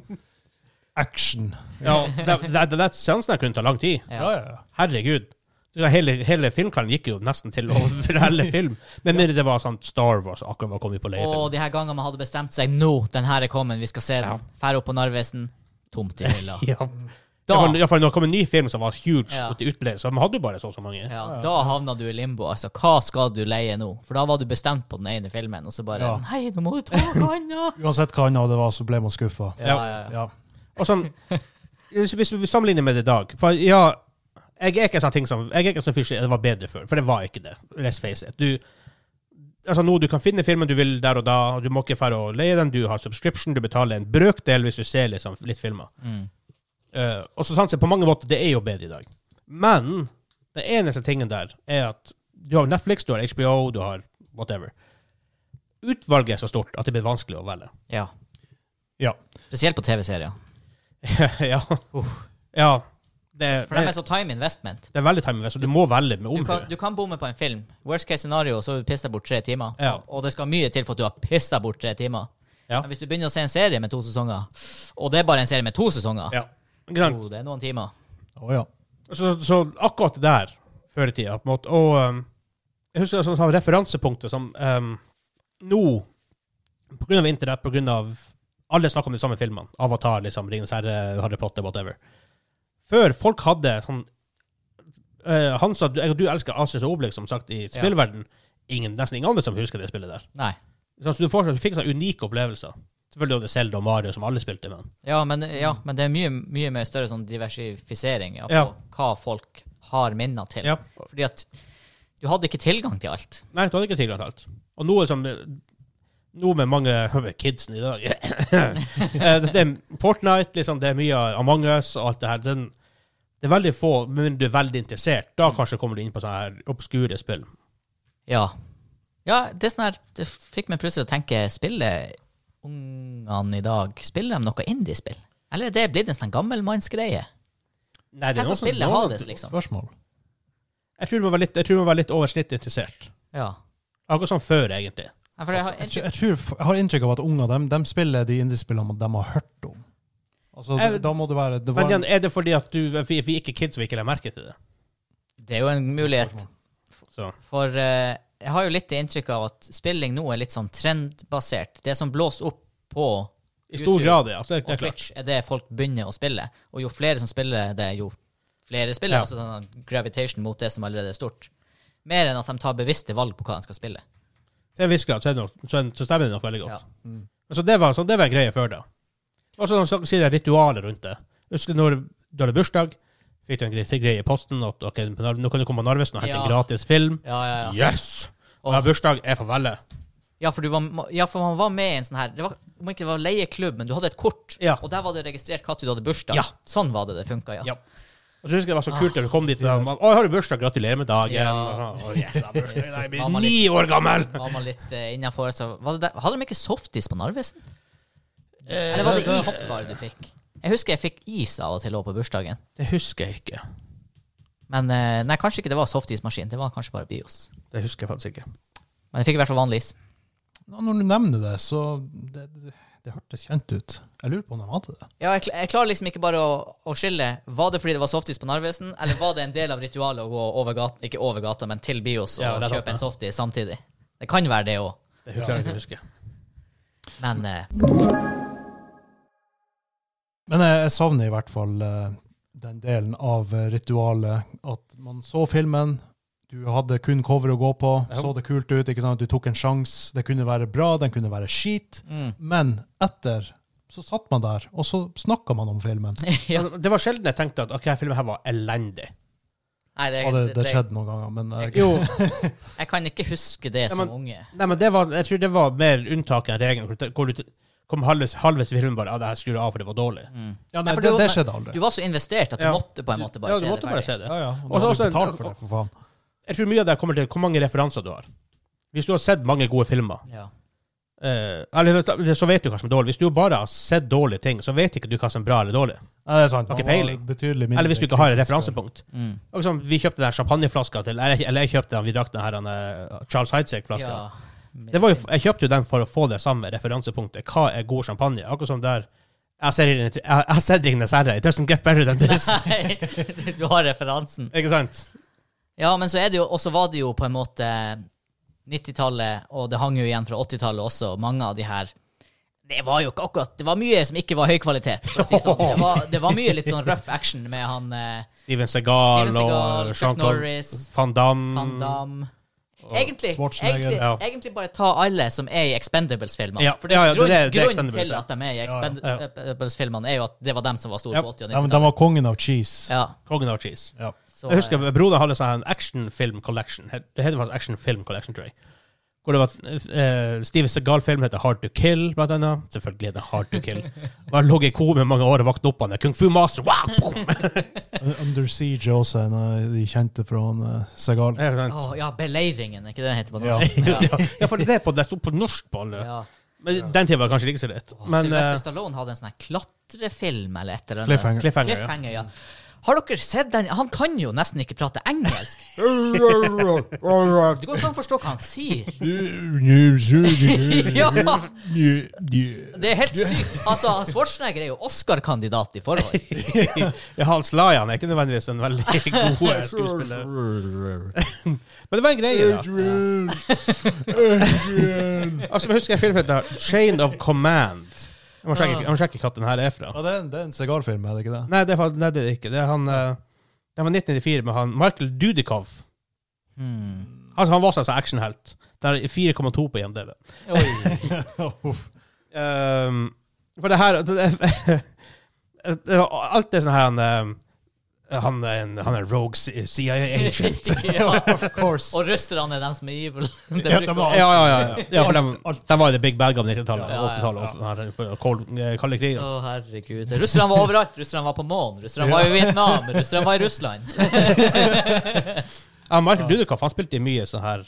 Speaker 3: action.
Speaker 1: Ja, det- det- det- det- Seansen her kunne ta lang tid.
Speaker 2: Ja.
Speaker 3: Ja, ja, ja.
Speaker 1: Herregud. Det var Hele, hele filmkvelden gikk jo nesten til å fortelle film. Med mindre det var sånn Star Wars akkurat var kommet på leiefilm.
Speaker 2: Og de her gangene man hadde bestemt seg nå, den her er kommet, vi skal se den. Fær opp på Narvesen. Tomt i hylla.
Speaker 1: Ja.
Speaker 2: Da-
Speaker 1: Ja, for- Ja, for når det kom en ny film som var huge
Speaker 2: Ja.
Speaker 1: og til utleie, så hadde jo bare så og så mange.
Speaker 2: Ja, da havna du i limbo. Altså, hva skal du leie nå? For da var du bestemt på den ene filmen, og så bare
Speaker 3: Ja.
Speaker 2: Nei, nå må du ta noe annet!
Speaker 3: Uansett hva annet det var, så ble man skuffa.
Speaker 2: Ja, ja, ja.
Speaker 3: Ja.
Speaker 1: Og sånn, hvis hvis vi sammenligner med det i dag For ja, jeg er ikke sånn ting som Jeg er ikke sånn fyr som sier, det var bedre før, for det var ikke det. Let's face it. Du, Altså nå, Du kan finne filmen du vil der og da, og du må ikke fære og leie den. Du har subscription, du betaler en brøkdel hvis du ser liksom, litt filmer.
Speaker 2: Mm.
Speaker 1: Eh, og så sant, så på mange måter, det er jo bedre i dag. Men den eneste tingen der er at du har Netflix, du har HBO, du har whatever. Utvalget er så stort at det blir vanskelig å velge.
Speaker 2: Ja.
Speaker 3: Ja.
Speaker 2: Spesielt på TV-serier.
Speaker 1: ja.
Speaker 2: Uff.
Speaker 1: ja. Det,
Speaker 2: For de
Speaker 1: det,
Speaker 2: er så time investment.
Speaker 1: det er veldig timing, så du må velge med
Speaker 2: Du
Speaker 1: omhu.
Speaker 2: kan, du kan bomme på en film. Worst case scenario, så har du pissa bort tre timer.
Speaker 1: Ja.
Speaker 2: Og det skal mye til for at du har pissa bort tre timer.
Speaker 1: Ja.
Speaker 2: Men hvis du begynner å se en serie med to sesonger, og det er bare en serie med to sesonger
Speaker 1: Ja. Ikke sant?
Speaker 2: jo, Det er noen timer.
Speaker 3: Å ja.
Speaker 1: Så, så akkurat det der, før i tida, på en måte. Og um, jeg husker sånn, sånn referansepunktet som um, nå, på grunn av internett, på grunn av Alle snakker om de samme filmene. Avatar, liksom, Ringenes herre, Harry Potter, whatever. Før folk hadde sånn eh, Han sa du, jeg, og du elsker Asis og Obelix, som sagt, i
Speaker 2: Ja.
Speaker 1: spillverden. Ingen, nesten ingen andre som husker det spillet der.
Speaker 2: Nei.
Speaker 1: Sånn, så du, får, du fikk sånne unike opplevelser. Selvfølgelig var det Zelda og Mario som alle spilte, men
Speaker 2: Ja, men, ja, men det er mye, mye mer større sånn diversifisering ja, på
Speaker 1: Ja.
Speaker 2: hva folk har minner til.
Speaker 1: ja.
Speaker 2: Fordi at du hadde ikke tilgang til alt.
Speaker 1: Nei, du hadde ikke tilgang til alt. Og nå er det sånn Nå med mange kidsen i dag Eh, Det det er Fortnite, liksom, det er mye av Among us og alt det her. Den, det er veldig få, men du er veldig interessert. Da kanskje kommer du inn på sånne her obskure spill.
Speaker 2: Ja. Ja, det er sånn her Det fikk meg plutselig å tenke Spiller ungene i dag Spiller de noe indiespill? Eller er det blitt en sånn gammelmannsgreie?
Speaker 1: Nei,
Speaker 2: Hvem
Speaker 1: noen
Speaker 2: som
Speaker 1: som-
Speaker 2: spiller Hades, liksom?
Speaker 3: Spørsmål.
Speaker 1: Jeg tror man var litt, jeg tror man var litt over snittet interessert.
Speaker 2: Ja.
Speaker 1: Akkurat som før, egentlig.
Speaker 2: Nei, for jeg har
Speaker 3: Altså, Jeg,
Speaker 2: inntrykk
Speaker 3: tror- jeg, tror, jeg har inntrykk av at unger dem, dem spiller de indiespillene de har hørt om. Altså,
Speaker 1: Jeg-
Speaker 3: da må det være det
Speaker 1: Men
Speaker 3: var,
Speaker 1: igjen, er det fordi at du, vi, vi ikke er kids, vi ikke legger merke til det?
Speaker 2: Det er jo en mulighet.
Speaker 1: Så.
Speaker 2: For eh, jeg har jo litt inntrykk av at spilling nå er litt sånn trendbasert. Det som blåser opp på
Speaker 1: I stor
Speaker 2: YouTube
Speaker 1: grad, ja. Så det, det
Speaker 2: og
Speaker 1: er klart.
Speaker 2: Twitch, er det folk begynner å spille. Og jo flere som spiller det, jo flere spiller.
Speaker 1: Ja.
Speaker 2: Altså sånn gravitation mot det som allerede er stort. Mer enn at de tar bevisste valg på hva de skal spille.
Speaker 1: Til en viss grad så, er det nok, så, er- så stemmer det nok veldig godt.
Speaker 2: Ja.
Speaker 3: Mm.
Speaker 1: Men Så det var, så det var en greie før, da. Og så så sier jeg ritualet rundt det. Husker du når du hadde bursdag, fikk du en gre- greie i posten at ok, nå kan du komme på Narvesen og hente
Speaker 2: Ja.
Speaker 1: en gratis film.
Speaker 2: Ja, ja, ja.
Speaker 1: Yes! Og jeg
Speaker 2: Åh.
Speaker 1: har bursdag, jeg får velge.
Speaker 2: Ja, for, du var, ja, for man var med i en sånn her det var, Om ikke det var leieklubb, men du hadde et kort,
Speaker 1: Ja.
Speaker 2: og der var det registrert når du hadde bursdag.
Speaker 1: Ja.
Speaker 2: Sånn var det det funka, ja. Ah.
Speaker 1: Ja. Og så husker jeg det var så kult da du kom dit. Og, man, å, jeg har jo bursdag, gratulerer med dagen.
Speaker 2: Ja.
Speaker 1: Og, yes, jeg har bursdag i dag, jeg
Speaker 2: Var man
Speaker 1: blir ni år gammel!
Speaker 2: Var man litt uh, innafor, så var det der. Hadde de ikke softis på Narvesen?
Speaker 1: Eh,
Speaker 2: Eller var det
Speaker 1: det,
Speaker 2: is bare du fikk? Jeg husker jeg fikk is av og til også på bursdagen.
Speaker 1: det husker jeg ikke.
Speaker 2: Men eh, nei, kanskje ikke det var softismaskin. Det var kanskje bare Bios.
Speaker 1: Det husker jeg faktisk ikke.
Speaker 2: Men jeg fikk i hvert fall vanlig is.
Speaker 3: Ja, Når du nevner det, så det, det, det hørtes kjent ut. Jeg lurer på om de hadde det.
Speaker 2: Ja, jeg, kl- jeg klarer liksom ikke bare å, å skille. Var det fordi det var softis på Narvesen, eller var det en del av ritualet å gå over gata, ikke over gata, men til Bios og
Speaker 1: Ja, det er sant,
Speaker 2: kjøpe en
Speaker 1: ja.
Speaker 2: softis samtidig? Det kan være det òg,
Speaker 1: Det husker jeg ikke å huske.
Speaker 2: men eh,
Speaker 3: Men jeg, jeg savner i hvert fall eh, den delen av eh, ritualet at man så filmen, du hadde kun cover å gå på,
Speaker 1: Ja.
Speaker 3: så det kult ut, ikke sant? du tok en sjanse, det kunne være bra, den kunne være skit,
Speaker 2: mm.
Speaker 3: men etter så satt man der, og så snakka man om filmen.
Speaker 2: ja.
Speaker 1: Men Det var sjelden jeg tenkte at ok, denne filmen her var elendig.
Speaker 2: Nei, det,
Speaker 3: Og det, det
Speaker 2: det,
Speaker 3: skjedde noen ganger, men eh,
Speaker 1: Jo,
Speaker 2: jeg kan ikke huske det som
Speaker 1: men-
Speaker 2: unge.
Speaker 1: Nei, men det var, jeg tror det var mer unntaket enn regelen. hvor det- Hvor du kom halvveis halvveis i filmen bare ja, det her skrur jeg av, for det var dårlig.
Speaker 2: Mm.
Speaker 3: ja,
Speaker 2: Ja,
Speaker 3: nei,
Speaker 2: for
Speaker 3: det,
Speaker 2: du-
Speaker 3: det skjedde aldri.
Speaker 2: Du var så investert at du
Speaker 1: Ja.
Speaker 2: måtte på en måte bare
Speaker 1: ja, du
Speaker 2: se
Speaker 1: måtte
Speaker 2: det
Speaker 1: bare
Speaker 2: ferdig.
Speaker 1: se det.
Speaker 3: Ja, ja.
Speaker 1: Og
Speaker 3: Og
Speaker 1: så
Speaker 3: så
Speaker 1: også en-
Speaker 3: betalt for det, for faen.
Speaker 1: Jeg tror mye av det kommer til hvor mange referanser du har. Hvis du har sett mange gode filmer,
Speaker 2: Ja.
Speaker 1: eh, eller så vet du hva som er dårlig. Hvis du bare har sett dårlige ting, så vet ikke du hva som er bra eller dårlig.
Speaker 3: Nei, det er sant.
Speaker 1: Har ikke
Speaker 3: man var
Speaker 1: peiling.
Speaker 3: betydelig mindre
Speaker 1: Eller hvis du ikke har et
Speaker 3: kritisk.
Speaker 1: referansepunkt.
Speaker 2: Mm.
Speaker 1: Og sånn, vi kjøpte den champagneflaska til Eller, eller jeg kjøpte den, vi drakk den her, den eh, Charles Heidsieck-flaska.
Speaker 2: Ja.
Speaker 1: Det var jo, jeg kjøpte jo den for å få det samme referansepunktet. Hva er god champagne? Akkurat som der Jeg ser ingen- jeg- jeg har sett Ringenes herre. It doesn't get better than this.
Speaker 2: Nei, du har referansen.
Speaker 1: Ikke sant?
Speaker 2: Ja, men så er det jo, og så var det jo på en måte 90-tallet, og det hang jo igjen fra 80-tallet også, mange av de her det var jo ikke akkurat Det var mye som ikke var høy kvalitet. For å si det sånn. det, var, det var mye litt sånn rough action med han eh,
Speaker 1: Steven Segal,
Speaker 2: Steven Seagal,
Speaker 1: og
Speaker 2: Chuck
Speaker 1: Jean-Claude
Speaker 2: Norris,
Speaker 1: Van Damme.
Speaker 2: Van Damme egentlig,
Speaker 3: Schwarzenegger,
Speaker 2: egentlig,
Speaker 1: Mm. ja.
Speaker 2: egentlig bare ta alle som er i Expendables-filmene.
Speaker 1: Ja,
Speaker 2: For det,
Speaker 1: ja, ja, det-
Speaker 2: grunn,
Speaker 1: det- det er
Speaker 2: grunnen
Speaker 1: Expendables,
Speaker 2: til
Speaker 1: ja.
Speaker 2: at de er i
Speaker 1: ja.
Speaker 3: Ja,
Speaker 2: Expendables-filmene, er jo at det var dem som var store
Speaker 1: Ja.
Speaker 2: på 80- og
Speaker 3: Ja, men de
Speaker 2: 90-tallet.
Speaker 3: var kongen av cheese.
Speaker 2: Ja,
Speaker 1: Kongen av cheese.
Speaker 3: Ja.
Speaker 2: så,
Speaker 1: Jeg husker
Speaker 2: eh,
Speaker 1: broderen hadde sånn action film collection. Det heter faktisk action film collection, tror jeg. Hvor Hvor det var eh, Steven Segal-film heter Hard to Kill, blant annet. Selvfølgelig er det Hard to Kill. Bare ligget i koma i mange år og våknet opp av det. Kung Fu Master! Wow! Boom!
Speaker 3: Under Siege er også en av de kjente fra han, eh, Segal.
Speaker 1: Ja, sant.
Speaker 2: Å, ja, Beleiringen, er ikke det den heter på
Speaker 3: Ja.
Speaker 2: norsk?
Speaker 1: ja. ja, for det, er på, det sto på norsk på alle.
Speaker 2: Ja.
Speaker 1: Men den tida var det kanskje ikke så lett.
Speaker 2: Åh,
Speaker 1: Men
Speaker 2: Sylvester
Speaker 1: eh,
Speaker 2: Stallone hadde en sånn her klatrefilm eller et eller annet.
Speaker 3: Cliffhanger.
Speaker 1: Cliffhanger, ja.
Speaker 2: Cliffhanger, ja. Har dere sett den? Han kan jo nesten ikke prate engelsk. Det går ikke an å forstå hva han sier. Ja, det er helt sykt. Altså, Schwarzenegger er jo Oscar-kandidat i forhold.
Speaker 1: eh, ja, Hans Lajan er ikke nødvendigvis en veldig god eh, skuespiller. Men det var en greie, da. Altså, jeg husker en film som heter Chain of Command. Jeg må sjekke, jeg må sjekke hva den her er fra.
Speaker 3: Ja, det er en, det er en Segal-film, er det ikke det?
Speaker 1: Nei, det er, fa- nei, det er det ikke. Det er han eh, Det var 1994 med han Michael Dudikov.
Speaker 2: Hmm.
Speaker 1: Altså, han var altså actionhelt. Det er 4,2 på IMDb.
Speaker 2: Oi.
Speaker 1: Ehm, for det her det, det- det var Alt det sånn her han eh, han er, en, han er rogue CIA-agent.
Speaker 2: Ja.
Speaker 3: Of course.
Speaker 2: Og russerne er dem som er evil. Det
Speaker 3: Ja,
Speaker 2: bruker
Speaker 3: de
Speaker 1: Ja,
Speaker 3: var-
Speaker 1: ja, ja. ja. ja for de, de var jo the big bad guy på 90-tallet og
Speaker 2: Ja, ja, ja.
Speaker 1: 80-tallet. og sånn her, på kol- eh, kalde krigen.
Speaker 2: Å, herregud. Russerne var overalt. Russerne var på månen. Russerne var i Vietnam. Russerne var i Russland.
Speaker 1: Ja, Michael Dudikoff han spilte i mye sånn her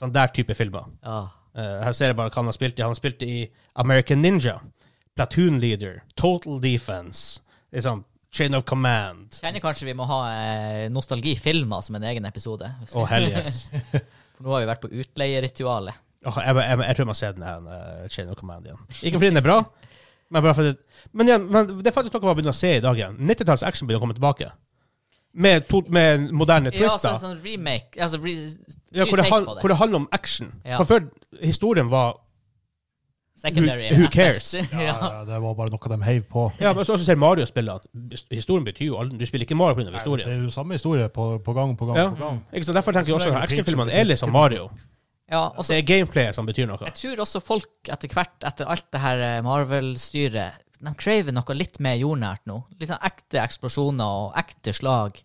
Speaker 1: Sånn der type filmer.
Speaker 2: Ja.
Speaker 1: Eh, her ser jeg bare hva han har spilt i. Han spilte i American Ninja, Platoon Leader, Total Defense, liksom Chain of Command.
Speaker 2: Kjenner kanskje vi må ha eh, nostalgifilmer som en egen episode. Hvis-
Speaker 1: Og hell yes.
Speaker 2: For nå har vi vært på utleieritualet.
Speaker 1: Åh, jeg, jeg, jeg tror jeg må se den her eh, Chain of Command igjen. Ikke fordi den er bra, men bare fordi Men, igjen, men det er faktisk noe man begynner å se i dag igjen. 90-tallets action begynner å komme tilbake. Med, to, med moderne
Speaker 2: Ja,
Speaker 1: twister.
Speaker 2: altså en sånn remake. Altså, re,
Speaker 1: Ja, hvor, det,
Speaker 2: retake
Speaker 1: han-
Speaker 2: på det.
Speaker 1: hvor det handler om action.
Speaker 2: Ja.
Speaker 1: For før historien var
Speaker 2: Secondary.
Speaker 1: who- who
Speaker 2: FS.
Speaker 1: cares?
Speaker 3: Ja,
Speaker 2: ja.
Speaker 3: ja, det var bare noe de heiv på.
Speaker 1: Ja, men så så ser Mario spillene. Historien betyr jo aldri Du spiller ikke Mario pga.
Speaker 3: Det
Speaker 1: historien.
Speaker 3: er jo samme historie på, på gang på gang.
Speaker 1: Ja.
Speaker 3: på gang.
Speaker 1: Ikke sant? Derfor tenker jeg også
Speaker 3: Som
Speaker 1: at
Speaker 3: regel
Speaker 1: actionfilmene
Speaker 3: betyr-
Speaker 1: er litt som Mario.
Speaker 2: ja, og så
Speaker 1: Det er gameplayet som betyr noe.
Speaker 2: Jeg tror også folk etter hvert, etter alt det her eh, Marvel-styret, de craver noe litt mer jordnært nå. Litt sånn ekte eksplosjoner og ekte slag.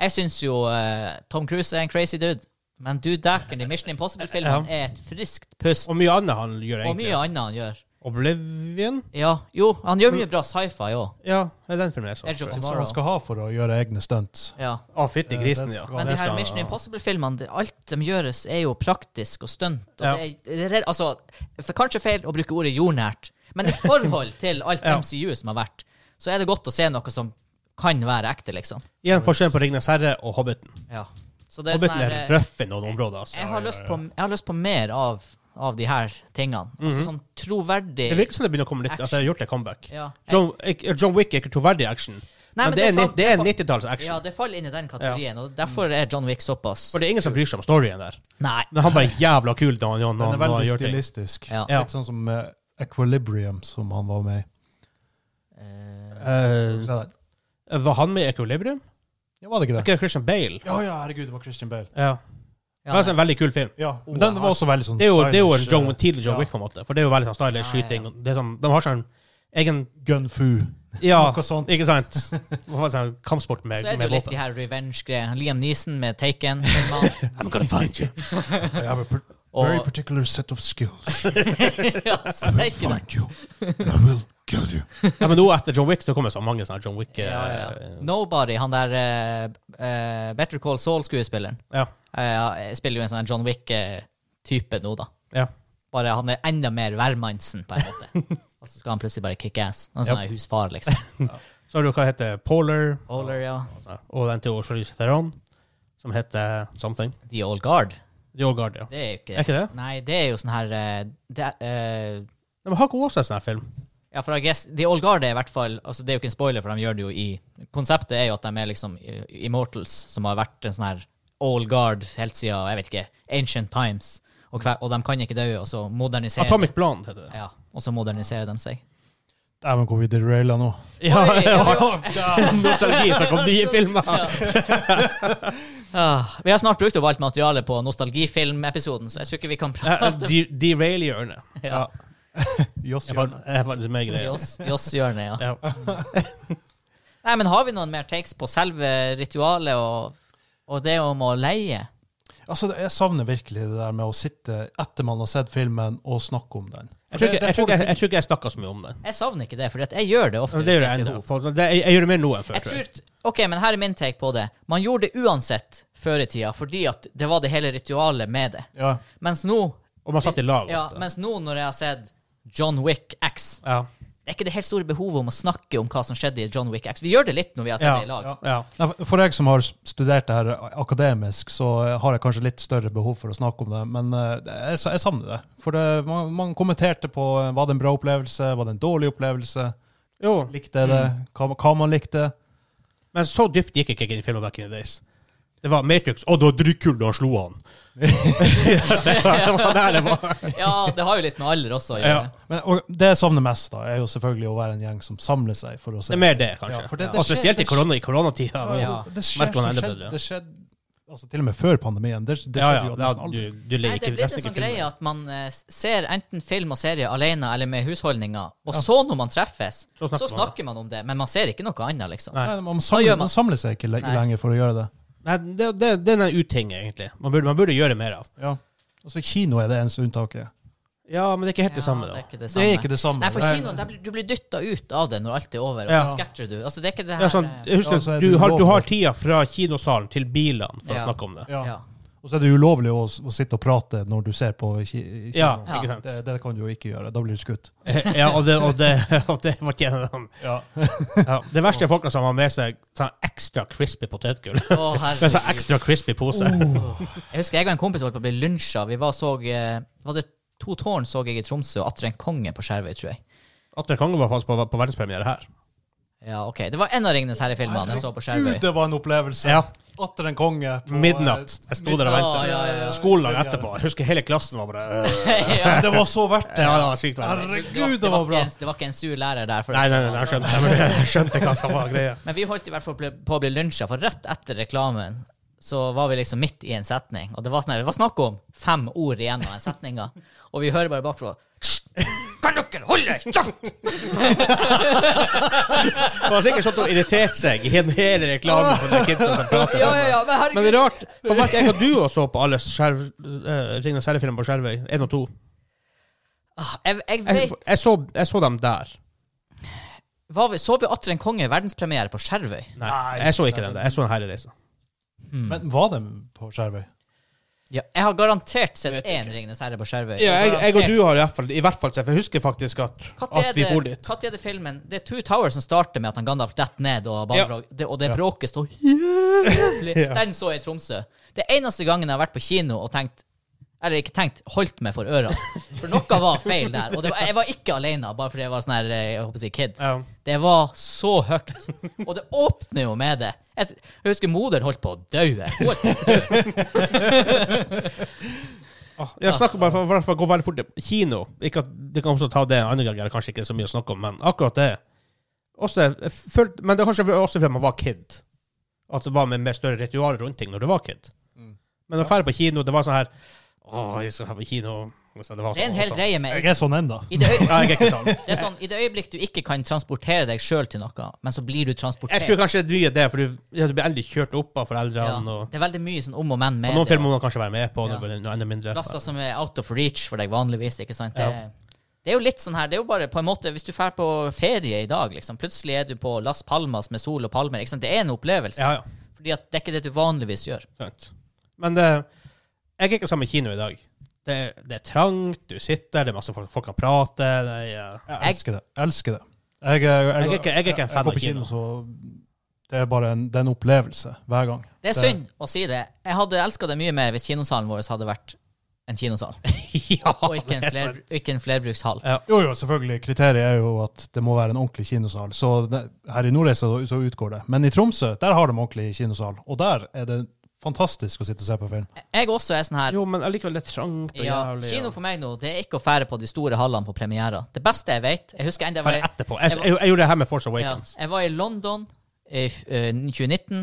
Speaker 2: Jeg syns jo eh, Tom Cruise er en crazy dude, men du dæken i Mission Impossible-filmen er et friskt pust.
Speaker 1: Og mye annet han gjør,
Speaker 2: Og
Speaker 1: egentlig.
Speaker 2: mye annet han gjør.
Speaker 1: Oblivion?
Speaker 2: Ja, jo, han gjør mye bra sci-fi òg.
Speaker 1: Ja, det er den filmen jeg så.
Speaker 2: Edge of
Speaker 3: Som man
Speaker 2: Tomorrow.
Speaker 3: skal ha for å gjøre egne stunts.
Speaker 2: Ja.
Speaker 1: Å, fytti grisen,
Speaker 3: Det
Speaker 1: ja.
Speaker 3: skal-
Speaker 2: Men de
Speaker 1: Det
Speaker 2: her
Speaker 1: skal-
Speaker 2: Mission Impossible-filmene, det- alt de gjøres, er jo praktisk og stunt. Og
Speaker 1: Ja.
Speaker 2: det er, det er, altså, for kanskje feil å bruke ordet jordnært, men i forhold til alt
Speaker 1: Ja.
Speaker 2: MCU som har vært, så er det godt å se noe som kan være ekte, liksom.
Speaker 1: Igjen forskjellen på Ringnes herre og Hobbiten.
Speaker 2: Ja. Så det er sånn
Speaker 1: Hobbiten
Speaker 2: her,
Speaker 1: er
Speaker 2: eh,
Speaker 1: røff i noen områder, altså.
Speaker 2: jeg, har lyst på, jeg har lyst på mer av, av de her tingene. Altså sånn
Speaker 1: Mhm. Det
Speaker 2: troverdig
Speaker 1: virker som det begynner å komme litt At jeg har gjort et comeback.
Speaker 2: ja.
Speaker 1: John, ikke- John Wick er ikke troverdig action,
Speaker 2: Nei,
Speaker 1: men det er,
Speaker 2: sant,
Speaker 1: nitt- det er
Speaker 2: fa-
Speaker 1: 90-talls action.
Speaker 2: Ja, det faller inn i den kategorien, og derfor er John Wick såpass
Speaker 1: For det er ingen som bryr seg om storyen der.
Speaker 2: Nei.
Speaker 1: Men han bare er jævla kul når han, når
Speaker 3: Den
Speaker 1: han, når han
Speaker 3: er veldig
Speaker 1: gjør ting.
Speaker 3: stilistisk.
Speaker 2: Ja.
Speaker 1: Ja.
Speaker 3: Litt sånn som eh, Equilibrium, som han var med i.
Speaker 2: Eh,
Speaker 1: Eh,
Speaker 3: Se der.
Speaker 1: var han med i Equilibrium?
Speaker 3: Ja, var det ikke
Speaker 1: Er
Speaker 3: det?
Speaker 1: ikke det Christian Bale?
Speaker 3: Ja, ja, herregud, det var Christian Bale.
Speaker 1: Ja.
Speaker 2: ja,
Speaker 1: det er altså en veldig kul film.
Speaker 3: Ja, men
Speaker 2: Oh,
Speaker 3: den var også veldig sånn
Speaker 1: Det er jo, det er jo en
Speaker 3: stylish,
Speaker 1: John,
Speaker 3: eh,
Speaker 1: tidlig John
Speaker 3: ja.
Speaker 1: Wick, på en måte. For det er jo veldig sånn stylish
Speaker 2: Ja, ja, ja.
Speaker 1: skyting. og Det er sånn, de har sånn egen
Speaker 3: Gun fu.
Speaker 1: Ja,
Speaker 3: Noe sånt.
Speaker 1: ikke sant? Hva faen, sånn kampsport med,
Speaker 2: Så er det
Speaker 1: med
Speaker 2: jo litt de
Speaker 1: våpen.
Speaker 2: her revenge-greiene. Liam Neeson med Taken-filmene.
Speaker 1: I'm gonna find you.
Speaker 3: I have a par-
Speaker 2: Og-
Speaker 3: very particular set of skills.
Speaker 2: ja, steike det.
Speaker 3: Find you. And I will kill you.
Speaker 1: ja, men nå etter John Wick så kommer så mange sånne John Wick eh,
Speaker 2: ja, ja. Nobody, han der eh, eh, Better Call Saul-skuespilleren,
Speaker 1: Ja.
Speaker 2: eh, spiller jo en sånn John Wick-type nå, da.
Speaker 1: ja.
Speaker 2: Bare han er enda mer hvermannsen, på en måte. Og så skal han plutselig bare kick ass. Han er sånn her husfar, liksom.
Speaker 1: Så har du hva heter Polar,
Speaker 2: Oler, ja.
Speaker 1: og den til Charlize Theron, som heter Something.
Speaker 2: The Old Guard.
Speaker 1: The Old Guard, ja.
Speaker 2: Det er jo
Speaker 1: Er
Speaker 2: ikke
Speaker 1: ikke det?
Speaker 2: Nei, det er jo sånn her eh, det, eh,
Speaker 1: Nei, Men har ikke hun også en sånn her film?
Speaker 2: Ja, for I guess, The Old Guard er i hvert fall altså Det er jo ikke en spoiler, for de gjør det jo i Konseptet er jo at de er liksom eh, Immortals, som har vært en sånn her Old Guard helt siden, jeg vet ikke, Ancient Times. Og, hver, og de kan ikke dø, og så modernisere
Speaker 1: Atomic Blonde heter det.
Speaker 2: Ja, og så moderniserer de seg.
Speaker 3: Dæven, hvor vi deraila nå.
Speaker 1: Ja,
Speaker 2: Oi,
Speaker 1: ja,
Speaker 2: ja,
Speaker 1: Nostalgi som kom nye filmer.
Speaker 2: Ah, vi har snart brukt opp alt materialet på nostalgifilmepisoden, så jeg tror ikke vi kan prate
Speaker 1: Ja, de- Derail-hjørnet.
Speaker 2: ja.
Speaker 3: Joss
Speaker 1: Det er
Speaker 3: gjør
Speaker 1: fakt- det er faktisk meg
Speaker 2: i
Speaker 1: greia.
Speaker 2: oss, i oss hjørne, ja.
Speaker 1: Ja.
Speaker 2: Nei, men har vi noen mer takes på selve ritualet og, og det om å leie?
Speaker 3: Altså, det- jeg savner virkelig det der med å sitte etter man har sett filmen, og snakke om den.
Speaker 1: Jeg tror
Speaker 3: For det-
Speaker 1: ikke
Speaker 3: det
Speaker 1: jeg, tror
Speaker 3: får
Speaker 1: ikke
Speaker 3: du-
Speaker 1: jeg, jeg, tror ikke jeg snakker så mye om den.
Speaker 2: Jeg savner ikke det, for jeg gjør det ofte.
Speaker 1: Det
Speaker 2: hvis
Speaker 1: gjør
Speaker 2: er
Speaker 1: jeg ennå.
Speaker 2: behov.
Speaker 1: For det- Jeg, jeg gjør det mer nå enn før.
Speaker 2: Jeg
Speaker 1: tror jeg.
Speaker 2: tror, ok, men her er min take på det. Man gjorde det uansett før i tida, fordi at det var det hele ritualet med det.
Speaker 3: Ja.
Speaker 2: Mens nå,
Speaker 1: Og man satt i lag
Speaker 2: ja,
Speaker 1: ofte.
Speaker 2: mens nå når jeg har sett John Wick X,
Speaker 1: Ja,
Speaker 2: det er ikke det helt store behovet om å snakke om hva som skjedde i John Wick X. Vi gjør det litt når vi har sett
Speaker 1: Ja,
Speaker 2: det i lag.
Speaker 3: ja.
Speaker 1: ja.
Speaker 3: Nei, for- For jeg som har studert det her eh, akademisk, så eh, har jeg kanskje litt større behov for å snakke om det, men eh, jeg, sa- jeg savner det. For det, man, man kommenterte på eh, var det en bra opplevelse, var det en dårlig opplevelse,
Speaker 1: Jo,
Speaker 3: likte jeg det, hva, hva man likte.
Speaker 1: men så dypt gikk ikke jeg inn i filmen back in the days. Det var Matrix. Å, det var dritkult da han slo han. det, var, det var der det var.
Speaker 2: Ja, det har jo litt med alder også å
Speaker 1: Ja.
Speaker 2: gjøre.
Speaker 3: Men, og det jeg savner mest, da, er jo selvfølgelig å være en gjeng som samler seg for å se.
Speaker 1: Det er mer det, kanskje.
Speaker 3: Ja, for det- det
Speaker 1: og
Speaker 3: skjer-
Speaker 1: spesielt i
Speaker 3: det skjer-
Speaker 1: korona, i koronatida.
Speaker 3: Ja,
Speaker 2: Ja.
Speaker 3: Det skjer,
Speaker 1: Merker man
Speaker 3: så
Speaker 1: enda
Speaker 3: skjedde,
Speaker 1: bedre.
Speaker 3: det skjedde altså, til og med før pandemien. Det, det
Speaker 1: Ja,
Speaker 3: skjedde
Speaker 1: ja.
Speaker 3: jo
Speaker 1: ja
Speaker 3: nesten
Speaker 1: du,
Speaker 3: aldri.
Speaker 1: du legger
Speaker 2: Nei, det
Speaker 1: ikke,
Speaker 2: blir en
Speaker 1: nesten
Speaker 2: sånn
Speaker 1: ikke filmen.
Speaker 2: greie at man eh, ser enten film og serie alene eller med husholdninger, og så når man treffes,
Speaker 1: Så
Speaker 2: så
Speaker 1: snakker
Speaker 2: snakker,
Speaker 1: man.
Speaker 2: man om det, men man ser ikke noe annet, liksom.
Speaker 1: Nei.
Speaker 3: Nei, man,
Speaker 2: Da
Speaker 3: samler,
Speaker 2: gjør man-
Speaker 3: man samler seg ikke le
Speaker 2: Nei.
Speaker 3: lenger for å gjøre det.
Speaker 1: Nei, det, det, det er en uting, egentlig. Man burde, man burde gjøre mer av.
Speaker 3: Ja. Altså, kino er det eneste unntaket.
Speaker 1: Ja, men det er ikke helt det samme,
Speaker 2: Ja,
Speaker 1: da.
Speaker 2: det er ikke det
Speaker 3: Det er
Speaker 2: samme.
Speaker 3: ikke det samme.
Speaker 2: Nei, for
Speaker 1: Nei.
Speaker 2: kinoen, der blir, du blir dytta ut av det når alt er over, og
Speaker 1: Ja.
Speaker 2: så scatter du. Altså, det er ikke det
Speaker 1: Ja,
Speaker 2: her
Speaker 1: sånn,
Speaker 2: eh,
Speaker 1: husk,
Speaker 3: Ja,
Speaker 1: at
Speaker 3: så er
Speaker 1: du,
Speaker 3: det
Speaker 1: har, du
Speaker 3: ulovlig.
Speaker 1: har tida fra kinosalen til bilene for
Speaker 2: Ja.
Speaker 1: å snakke om det.
Speaker 3: Ja.
Speaker 2: ja.
Speaker 3: Og så er det ulovlig å, å sitte og prate når du ser på ki i kino.
Speaker 1: Ja,
Speaker 2: Ja.
Speaker 1: ikke sant?
Speaker 3: Det, det kan du jo ikke gjøre. Da blir du skutt.
Speaker 1: Ja, og det, og det, og det fortjener de. Ja. Det verste er folka som har med seg sånn ekstra crispy potetgull.
Speaker 2: Å,
Speaker 1: Det er sånn
Speaker 2: herregud.
Speaker 1: ekstra crispy pose.
Speaker 3: Oh.
Speaker 2: Jeg husker jeg og en kompis holdt på å bli lynsja. Vi var og så eh, Var det To tårn så jeg i Tromsø, og atter en konge på Skjervøy, tror jeg.
Speaker 1: Atle Konge var faktisk på, på verdenspremiere her.
Speaker 2: Ja, OK. Det var en av Ringenes herre-filmene jeg så på Skjervøy.
Speaker 3: det var en opplevelse!
Speaker 1: Ja,
Speaker 3: Atter en konge. på, eh,
Speaker 1: Midnatt. Jeg sto der og
Speaker 2: midnatt.
Speaker 1: ventet.
Speaker 2: Ja, ja, ja.
Speaker 1: Skolen dagen etterpå. Jeg husker hele klassen var bare øh.
Speaker 2: ja.
Speaker 3: Det var så verdt det!
Speaker 1: Ja, det var sykt bra.
Speaker 3: Herregud,
Speaker 2: Det var,
Speaker 3: det
Speaker 2: det, var
Speaker 3: var
Speaker 2: ikke
Speaker 3: bra!
Speaker 2: en, det var ikke en sur lærer der. For
Speaker 1: Nei, nei, nei, jeg skjønte, jeg skjønte hva som var greia.
Speaker 2: Men vi holdt i hvert fall ble- på å bli lynsja, for rett etter reklamen så var vi liksom midt i en setning, og det var, sånn, her- det var snakk om fem ord igjen av den setninga, og vi hører bare bakfra Kan dere holde kjeft?!
Speaker 1: Det var sikkert sånn at hun irriterte seg i en hel reklame for de kidsa som prater.
Speaker 2: Ja, ja, ja, men
Speaker 1: Men det
Speaker 2: herregud.
Speaker 1: er rart. For hva jeg og du også så på alle skjerv, eh, Ringnes herre-filmer på Skjervøy? Én og to.
Speaker 2: Ah, Jeg, jeg
Speaker 1: Jeg,
Speaker 2: vet,
Speaker 1: jeg, så, jeg så dem der.
Speaker 2: var vi, Så vi atter en konge i verdenspremiere på Skjervøy?
Speaker 1: Nei, jeg så ikke dem der. Jeg så en herrereise.
Speaker 3: Men var de på Skjervøy?
Speaker 2: Ja, jeg har garantert sett én Ringenes herre på Skjervøy.
Speaker 1: Ja, jeg, jeg og
Speaker 2: Garantert.
Speaker 1: du har i hvert fall, i hvert fall sett, for jeg husker faktisk at,
Speaker 2: Når
Speaker 1: at
Speaker 2: er,
Speaker 1: vi for
Speaker 2: det-
Speaker 1: dit.
Speaker 2: når er det filmen Det er Two Towers som starter med at han Gandalf detter ned, og, Balrog, det, og det
Speaker 3: Ja.
Speaker 2: bråket står jævlig Den så jeg i Tromsø. Det er eneste gangen jeg har vært på kino og tenkt Eller ikke tenkt, holdt meg for ørene. For noe var feil der. Og det var, jeg var ikke alene, bare fordi jeg var sånn her eh, jeg håper å si kid.
Speaker 1: Ja.
Speaker 2: Det var så høyt. Og det åpner jo med det. Jeg, jeg husker moderen holdt på å dø. Jeg holdt på å dø.
Speaker 1: Jeg snakker bare for, for, for å gå veldig fort til kino. Ikke at det kan også ta det en annen gang, eller kanskje ikke så mye å snakke om, men akkurat det også, jeg følte, Men det er kanskje også fordi man var kid. At det var med, med større ritual rundt ting når du var kid. Men å dra på kino, det var sånn her Å, jeg skal på kino. Så Det, var
Speaker 2: Det er en hel
Speaker 1: sånn-
Speaker 2: greie med
Speaker 3: Jeg er sånn enda.
Speaker 2: i det, øy,
Speaker 1: Ja, jeg er ikke sånn.
Speaker 2: det er sånn, I det øyeblikk du ikke kan transportere deg sjøl til noe, men så blir du transportert.
Speaker 1: Jeg tror kanskje det er mye det, for du, ja, du blir endelig kjørt opp av
Speaker 2: Ja,
Speaker 1: foreldrene. Og,
Speaker 2: det er veldig mye sånn om og men
Speaker 1: og
Speaker 2: med
Speaker 1: noen
Speaker 2: det.
Speaker 1: filmer må man kanskje være med på,
Speaker 2: Ja.
Speaker 1: noe, noe enda mindre.
Speaker 2: Plasser som er out of reach for deg vanligvis, ikke sant? Det,
Speaker 1: Ja.
Speaker 2: det er jo litt sånn her, det er jo bare på en måte, hvis du drar på ferie i dag, liksom, plutselig er du på Las Palmas med sol og palmer, ikke sant? Det er en opplevelse,
Speaker 1: Ja, ja.
Speaker 2: fordi at det er ikke det du vanligvis gjør.
Speaker 1: Sant. Men det, jeg er ikke sammen med kino i dag. Det, det er trangt, du sitter, det er masse folk, folk kan prate. Det er, ja.
Speaker 3: Jeg elsker det. Jeg elsker det. Jeg, jeg, jeg,
Speaker 1: er ikke- jeg er ikke en fan
Speaker 3: går
Speaker 1: av
Speaker 3: på
Speaker 1: kino.
Speaker 3: så det er bare en, det er en opplevelse hver gang.
Speaker 2: Det er synd å si det. Jeg hadde elsket det mye mer hvis kinosalen vår hadde vært en kinosal,
Speaker 1: ja,
Speaker 2: og ikke en,
Speaker 1: det er
Speaker 2: fler,
Speaker 1: sant.
Speaker 2: ikke en flerbrukshall.
Speaker 3: Jo, jo, selvfølgelig. Kriteriet er jo at det må være en ordentlig kinosal. Så det, her i Nordreisa så, så utgår det. Men i Tromsø, der har de ordentlig kinosal. Og der er det fantastisk å sitte og se på film.
Speaker 2: Jeg også er sånn her,
Speaker 1: Jo, men allikevel, det er trangt og
Speaker 2: ja,
Speaker 1: jævlig.
Speaker 2: kino
Speaker 1: og-
Speaker 2: for meg nå, det er ikke å fære på de store hallene på premierer. Det beste jeg vet, jeg husker enda jeg var
Speaker 1: Ferdig
Speaker 2: i-
Speaker 1: etterpå. Jeg, jeg, jeg gjorde det her med Force
Speaker 2: Ja.
Speaker 1: Awakens.
Speaker 2: Jeg var i London i f- eh, 2019.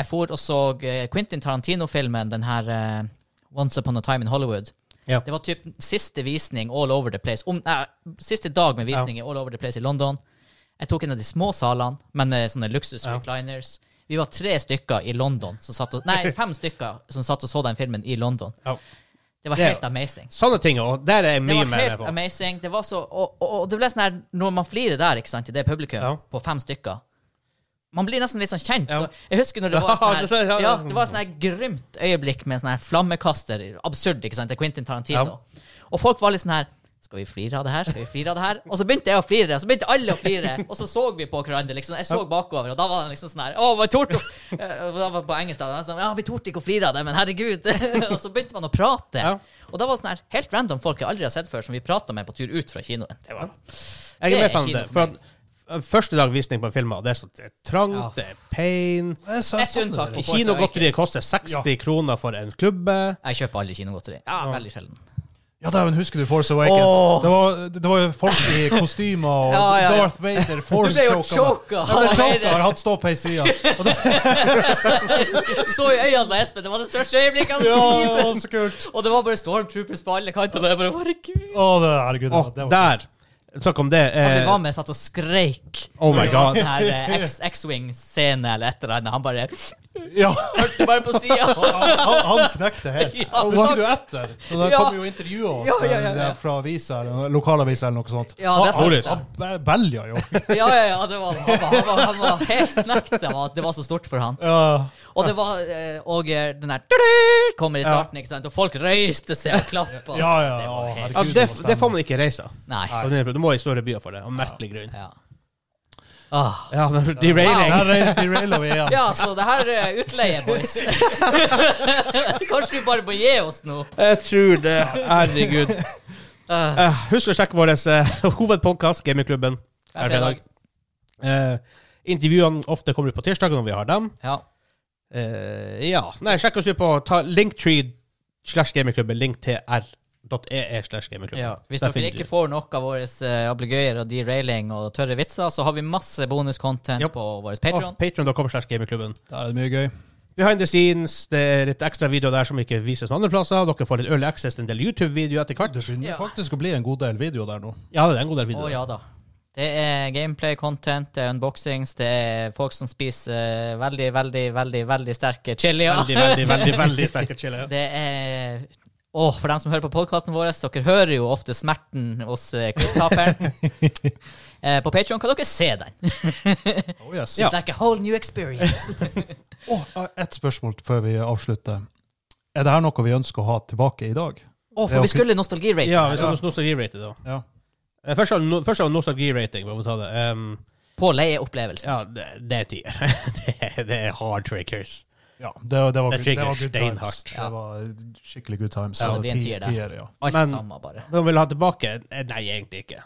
Speaker 2: Jeg for og så eh, Quentin Tarantino-filmen, den her eh, Once Upon a Time in Hollywood.
Speaker 1: Ja.
Speaker 2: Det var typ siste visning all over the place. Om, nei, siste dag med visning i all over the place i London. Jeg tok en av de små salene, men med sånne luksus
Speaker 1: Ja.
Speaker 2: recliners. Vi var tre stykker i London som satt og, Nei, fem stykker som satt og så den filmen i London.
Speaker 1: Ja.
Speaker 2: Det var
Speaker 1: Det-
Speaker 2: helt amazing.
Speaker 1: Sånne ting, og der er jeg
Speaker 2: Det
Speaker 1: mye
Speaker 2: var
Speaker 1: mer
Speaker 2: helt
Speaker 1: på.
Speaker 2: amazing. Det var så, og, og, og det ble sånn her, når man flirer der, ikke sant, til det publikum,
Speaker 1: Ja.
Speaker 2: på fem stykker Man blir nesten litt sånn kjent.
Speaker 1: Ja.
Speaker 2: Så jeg husker når det
Speaker 1: Ja,
Speaker 2: var sånn
Speaker 1: så-
Speaker 2: her,
Speaker 1: ja, ja.
Speaker 2: ja, det var sånn her grymt øyeblikk med sånn her flammekaster, absurd, ikke sant, til Quentin Tarantino. Og folk var litt sånn her skal vi flire av det her? Skal vi flire av det her? Og så begynte jeg å flire, og så begynte alle å flire. Og så så vi på hverandre, liksom. Jeg så bakover, og da var de liksom sånn her Å, vi torde å-» Eh, Da var det på engelsk, da. de var Sånn, ja, vi torde ikke å flire av det, men herregud. og så begynte man å prate.
Speaker 1: Ja.
Speaker 2: Og da var det sånn her helt random folk jeg aldri har sett før, som vi prata med på tur ut fra kinoen. Det var,
Speaker 1: Jeg er
Speaker 2: Det er
Speaker 1: mer fan av
Speaker 2: kino
Speaker 1: det.
Speaker 2: for
Speaker 1: For at f- første dag visning på en film, og det er så det er trangt,
Speaker 2: Ja.
Speaker 1: det er pain
Speaker 3: Det er så-
Speaker 2: Et
Speaker 3: sånn
Speaker 2: unntak
Speaker 3: det er.
Speaker 2: på- Force Awakens.
Speaker 1: Kinogodteriet koster 60 kroner for en klubbe.
Speaker 2: jeg kjøper aldri kinogodteri. Ja, veldig sjelden.
Speaker 3: Ja, da, men husker du Force Awakens?
Speaker 2: Åh.
Speaker 3: Det, var, det var jo folk i kostymer og
Speaker 2: Ja, ja, ja.
Speaker 3: Darth Vader,
Speaker 2: Du
Speaker 3: Force
Speaker 2: ble jo
Speaker 3: choker.
Speaker 2: choka!
Speaker 3: Ja, det er choker, har hatt ståpeis i sida.
Speaker 2: Så i øynene på Espen, det var det største øyeblikket hans i
Speaker 3: Ja, det
Speaker 2: livet!
Speaker 3: var så kult.
Speaker 2: Og det var bare stormtroopers på alle kanter. Og jeg bare, herregud.
Speaker 3: Å, det, herregud, det
Speaker 1: Å,
Speaker 3: var- det var
Speaker 1: der! Snakk om det.
Speaker 2: Han vi
Speaker 1: Eh,
Speaker 2: var med, satt og skreik.
Speaker 1: oh my god.
Speaker 2: Sånn her eh, X- X-Wing-scene eller et eller annet. Han bare
Speaker 3: Ja,
Speaker 2: hørte bare på sida.
Speaker 3: han, han- han knekte helt.
Speaker 2: Ja.
Speaker 3: Husker du etter? Og Da
Speaker 2: Ja.
Speaker 3: kom jo og intervjua oss
Speaker 2: Ja, ja, ja, ja.
Speaker 3: eh, fra avisa, eller lokalavisa eller noe sånt.
Speaker 2: Ja, det er sant.
Speaker 3: Han, han, han belja jo.
Speaker 2: Ja, ja, ja, det var, han, var, han, var, han var helt knekt av at det var så stort for han.
Speaker 3: Ja.
Speaker 2: Og det var eh, Og eh, den der tudu, kommer i starten, ikke sant? Og folk røyste seg og klappa.
Speaker 3: Ja, ja,
Speaker 2: Det var
Speaker 3: å,
Speaker 2: helt-
Speaker 1: Ja,
Speaker 3: herregud,
Speaker 1: det,
Speaker 3: var
Speaker 1: det får
Speaker 3: stemning.
Speaker 1: man ikke reise av.
Speaker 2: Nei.
Speaker 1: Du må i store byer for det, av merkelig grunn.
Speaker 2: Ja. Ah.
Speaker 1: Ja, men derailing.
Speaker 3: Der re- derailer vi igjen.
Speaker 2: Ja, så det her er utleie, boys. Kanskje vi bare må gi oss nå.
Speaker 1: Jeg tror det. Herregud.
Speaker 2: Uh,
Speaker 1: Eh, husk å sjekke vår uh, hovedpodkast, Gamingklubben.
Speaker 2: hver fredag.
Speaker 1: Eh, intervjuene ofte kommer ut på tirsdag når vi har dem.
Speaker 2: Ja.
Speaker 1: Eh, ja. Nei, sjekk oss ut på ta linktree slash gamingklubben. Linktr.ee slash gamingklubben.
Speaker 2: Ja, hvis
Speaker 1: Der
Speaker 2: dere
Speaker 1: finner du
Speaker 2: ikke
Speaker 1: det.
Speaker 2: får nok av våre eh, ablegøyer og derailing og tørre vitser, så har vi masse bonuscontent
Speaker 1: Yep.
Speaker 2: på vår
Speaker 1: Og
Speaker 2: Patreon.
Speaker 1: Patreon.com slash gamingklubben.
Speaker 3: Der er det mye gøy.
Speaker 1: Behind the scenes, det er litt ekstra videoer der som ikke vises noen andre plasser. Dere får litt early access til en del YouTube-videoer etter hvert.
Speaker 3: Det begynner
Speaker 2: Ja.
Speaker 3: faktisk å bli en god del video der nå.
Speaker 1: Ja, det er en god del
Speaker 2: Å
Speaker 1: videoer.
Speaker 2: ja da. Det er gameplay-content, det er unboxings, det er folk som spiser eh, veldig, veldig, veldig veldig sterke chilier.
Speaker 1: Veldig, veldig, veldig veldig sterke chiller.
Speaker 2: Det er Åh, for dem som hører på podkasten vår, dere hører jo ofte smerten hos eh, quiztaperen. Eh, på Patreon kan dere se den.
Speaker 3: Oh, yes.
Speaker 1: Ja.
Speaker 2: It's like a whole new experience.
Speaker 3: Å, et spørsmål før vi avslutter. Er det her noe vi ønsker å ha tilbake i dag?
Speaker 2: Åh, for vi skulle nostalgirate.
Speaker 1: Ja,
Speaker 2: her
Speaker 1: hvis noen nostalgi-rated, da.
Speaker 3: Ja.
Speaker 1: Eh, Først av no- først av nostalgi-rating, bare for å ta det. Ehm,
Speaker 2: På leieopplevelsen.
Speaker 1: ja, det, det er tier. det, er- det er hard triggers.
Speaker 3: ja det, det var,
Speaker 1: Det
Speaker 3: good-
Speaker 1: trigger
Speaker 3: var good times.
Speaker 1: steinhardt.
Speaker 2: Ja.
Speaker 3: Det var skikkelig good times.
Speaker 2: Ja,
Speaker 3: Så
Speaker 2: det er en tier der.
Speaker 3: tier, ja.
Speaker 2: Alt
Speaker 1: men-
Speaker 2: sammen, bare.
Speaker 1: Hva vil du ha tilbake? Eh, Nei, egentlig ikke.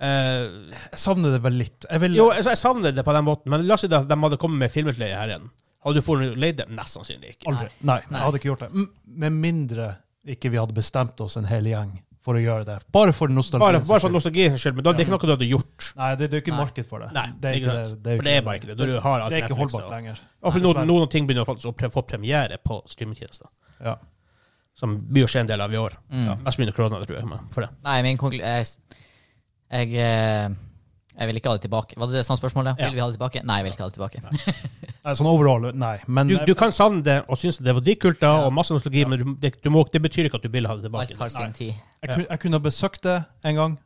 Speaker 1: Eh,
Speaker 3: Jeg savner det vel litt. Jeg vil,
Speaker 1: jo, altså, jeg savner det på den måten, men la oss si at de hadde kommet med filmutleie her igjen. Hadde du fått leid dem? Mest sannsynlig ikke.
Speaker 3: aldri. Nei, jeg hadde ikke gjort det. M- Med mindre ikke vi hadde bestemt oss en hel gjeng for å gjøre det. Bare for
Speaker 1: Bare,
Speaker 3: nostalgien.
Speaker 1: bare for nostalgiens skyld, men da, det er ikke noe du hadde gjort.
Speaker 3: Nei, det, det er jo ikke
Speaker 2: Nei.
Speaker 3: marked for det.
Speaker 1: Nei,
Speaker 3: det er
Speaker 1: ikke sant. For det er bare ikke det. Du har alt
Speaker 3: det er ikke
Speaker 1: Netflix
Speaker 3: holdbart
Speaker 1: og-
Speaker 3: lenger.
Speaker 1: Og for
Speaker 3: Nei,
Speaker 1: noen, noen ting begynner å faktisk å pre få premiere på streamingtjenester,
Speaker 3: Ja.
Speaker 1: som blir å skje en del av i år.
Speaker 2: Mm.
Speaker 1: Ja, mest mye korona, tror jeg. men For det.
Speaker 2: Nei, min konklu... Jeg, jeg, eh, jeg vil ikke ha det tilbake. Var det det samme spørsmålet?
Speaker 1: Ja.
Speaker 2: Vil vi ha det tilbake? Nei, jeg vil ikke ha det tilbake.
Speaker 3: Nei, sånn overall, nei. Men eh,
Speaker 1: Du, du kan savne det og synes det var dritkult da, og masse nostalgi, men du, det, du må, det betyr ikke at du vil ha det
Speaker 2: Alt
Speaker 1: tilbake.
Speaker 2: har sin tid.
Speaker 3: Jeg, kunne, jeg kunne ha besøkt det en gang,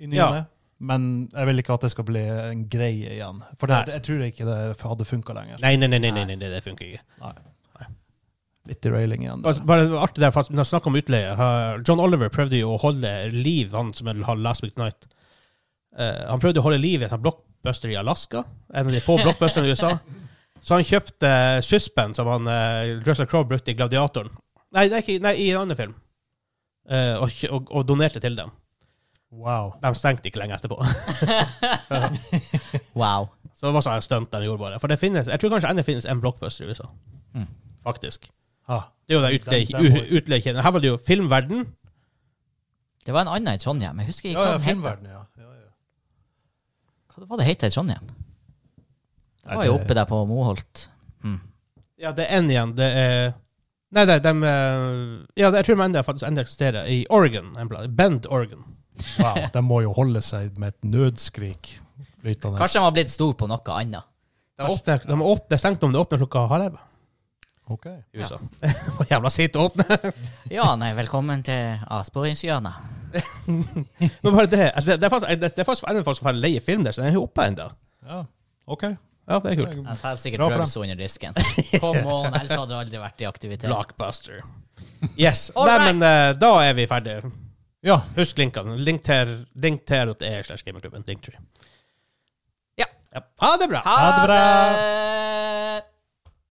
Speaker 3: i ny og
Speaker 1: Ja.
Speaker 3: ne, men jeg vil ikke at det skal bli en greie igjen. For det,
Speaker 1: Nei.
Speaker 3: jeg tror ikke det hadde funka lenger.
Speaker 1: Nei, nei, nei, nei, nei, nei, det funker ikke.
Speaker 3: Nei. Litt derailing igjen.
Speaker 1: Altså, Bare det var artig der, faktisk, når jeg snakker om utleie. har- John Oliver prøvde jo å holde liv, han som har Last Week Night. Eh, han prøvde å holde liv i en sånn blockbuster i Alaska, en av de få blockbusterne i USA. Så han kjøpte Suspen, som han uh, Russell Crowe brukte i Gladiatoren. Nei, nei, ikke, nei i en annen film. Eh, og, kjø- og, og donerte til dem.
Speaker 3: Wow.
Speaker 1: De stengte ikke lenge etterpå.
Speaker 2: Wow.
Speaker 1: Så det var sånn en stunt de gjorde, bare. For det finnes, jeg tror kanskje ennå finnes en blockbuster i USA.
Speaker 2: Mm.
Speaker 1: Faktisk.
Speaker 3: Ah.
Speaker 1: Det er jo den
Speaker 3: Den- den må-
Speaker 1: utleie- u- utleiekjeden. Her var det jo Filmverden.
Speaker 2: Det var en annen i Trondheim. Jeg husker ikke
Speaker 3: Ja,
Speaker 2: hva
Speaker 3: ja,
Speaker 2: den het.
Speaker 3: filmverden, ja. ja, ja.
Speaker 2: Hva var det het i Trondheim? Det var jo oppe der på Moholt. Mm.
Speaker 1: Ja, det er en igjen. Det er Nei, nei, de Ja, jeg tror de enda faktisk enda eksisterer. I Oregon. en plass. Bend, Oregon.
Speaker 3: Wow, de må jo holde seg med et nødskrik flytende.
Speaker 2: Kanskje de har blitt stor på noe annet.
Speaker 1: De åpner, de åpner, stengt om det åpner klokka halv elleve
Speaker 3: Ok.
Speaker 1: i USA. Hvor jævla seint å åpne!
Speaker 2: Ja, nei, velkommen til avsporingshjørnet.
Speaker 1: Men bare det, Altså, det, det er faktisk, det er faktisk enda folk som får leie film der, så den er jo oppe ennå.
Speaker 3: Ja. OK.
Speaker 1: Ja, det er kult.
Speaker 2: Jeg selger sikkert
Speaker 3: Bra for
Speaker 2: drugs under disken. Come on, ellers hadde du aldri vært i aktivitet.
Speaker 1: Blockbuster. Yes.
Speaker 2: All
Speaker 1: Nei,
Speaker 2: right.
Speaker 1: men eh, da er vi ferdige.
Speaker 3: Ja.
Speaker 1: Husk linkene. Linkter- Linkter.e slash gamingklubben. Linktree.
Speaker 2: Ja.
Speaker 1: Ha det bra!
Speaker 3: Ha det bra.
Speaker 2: det!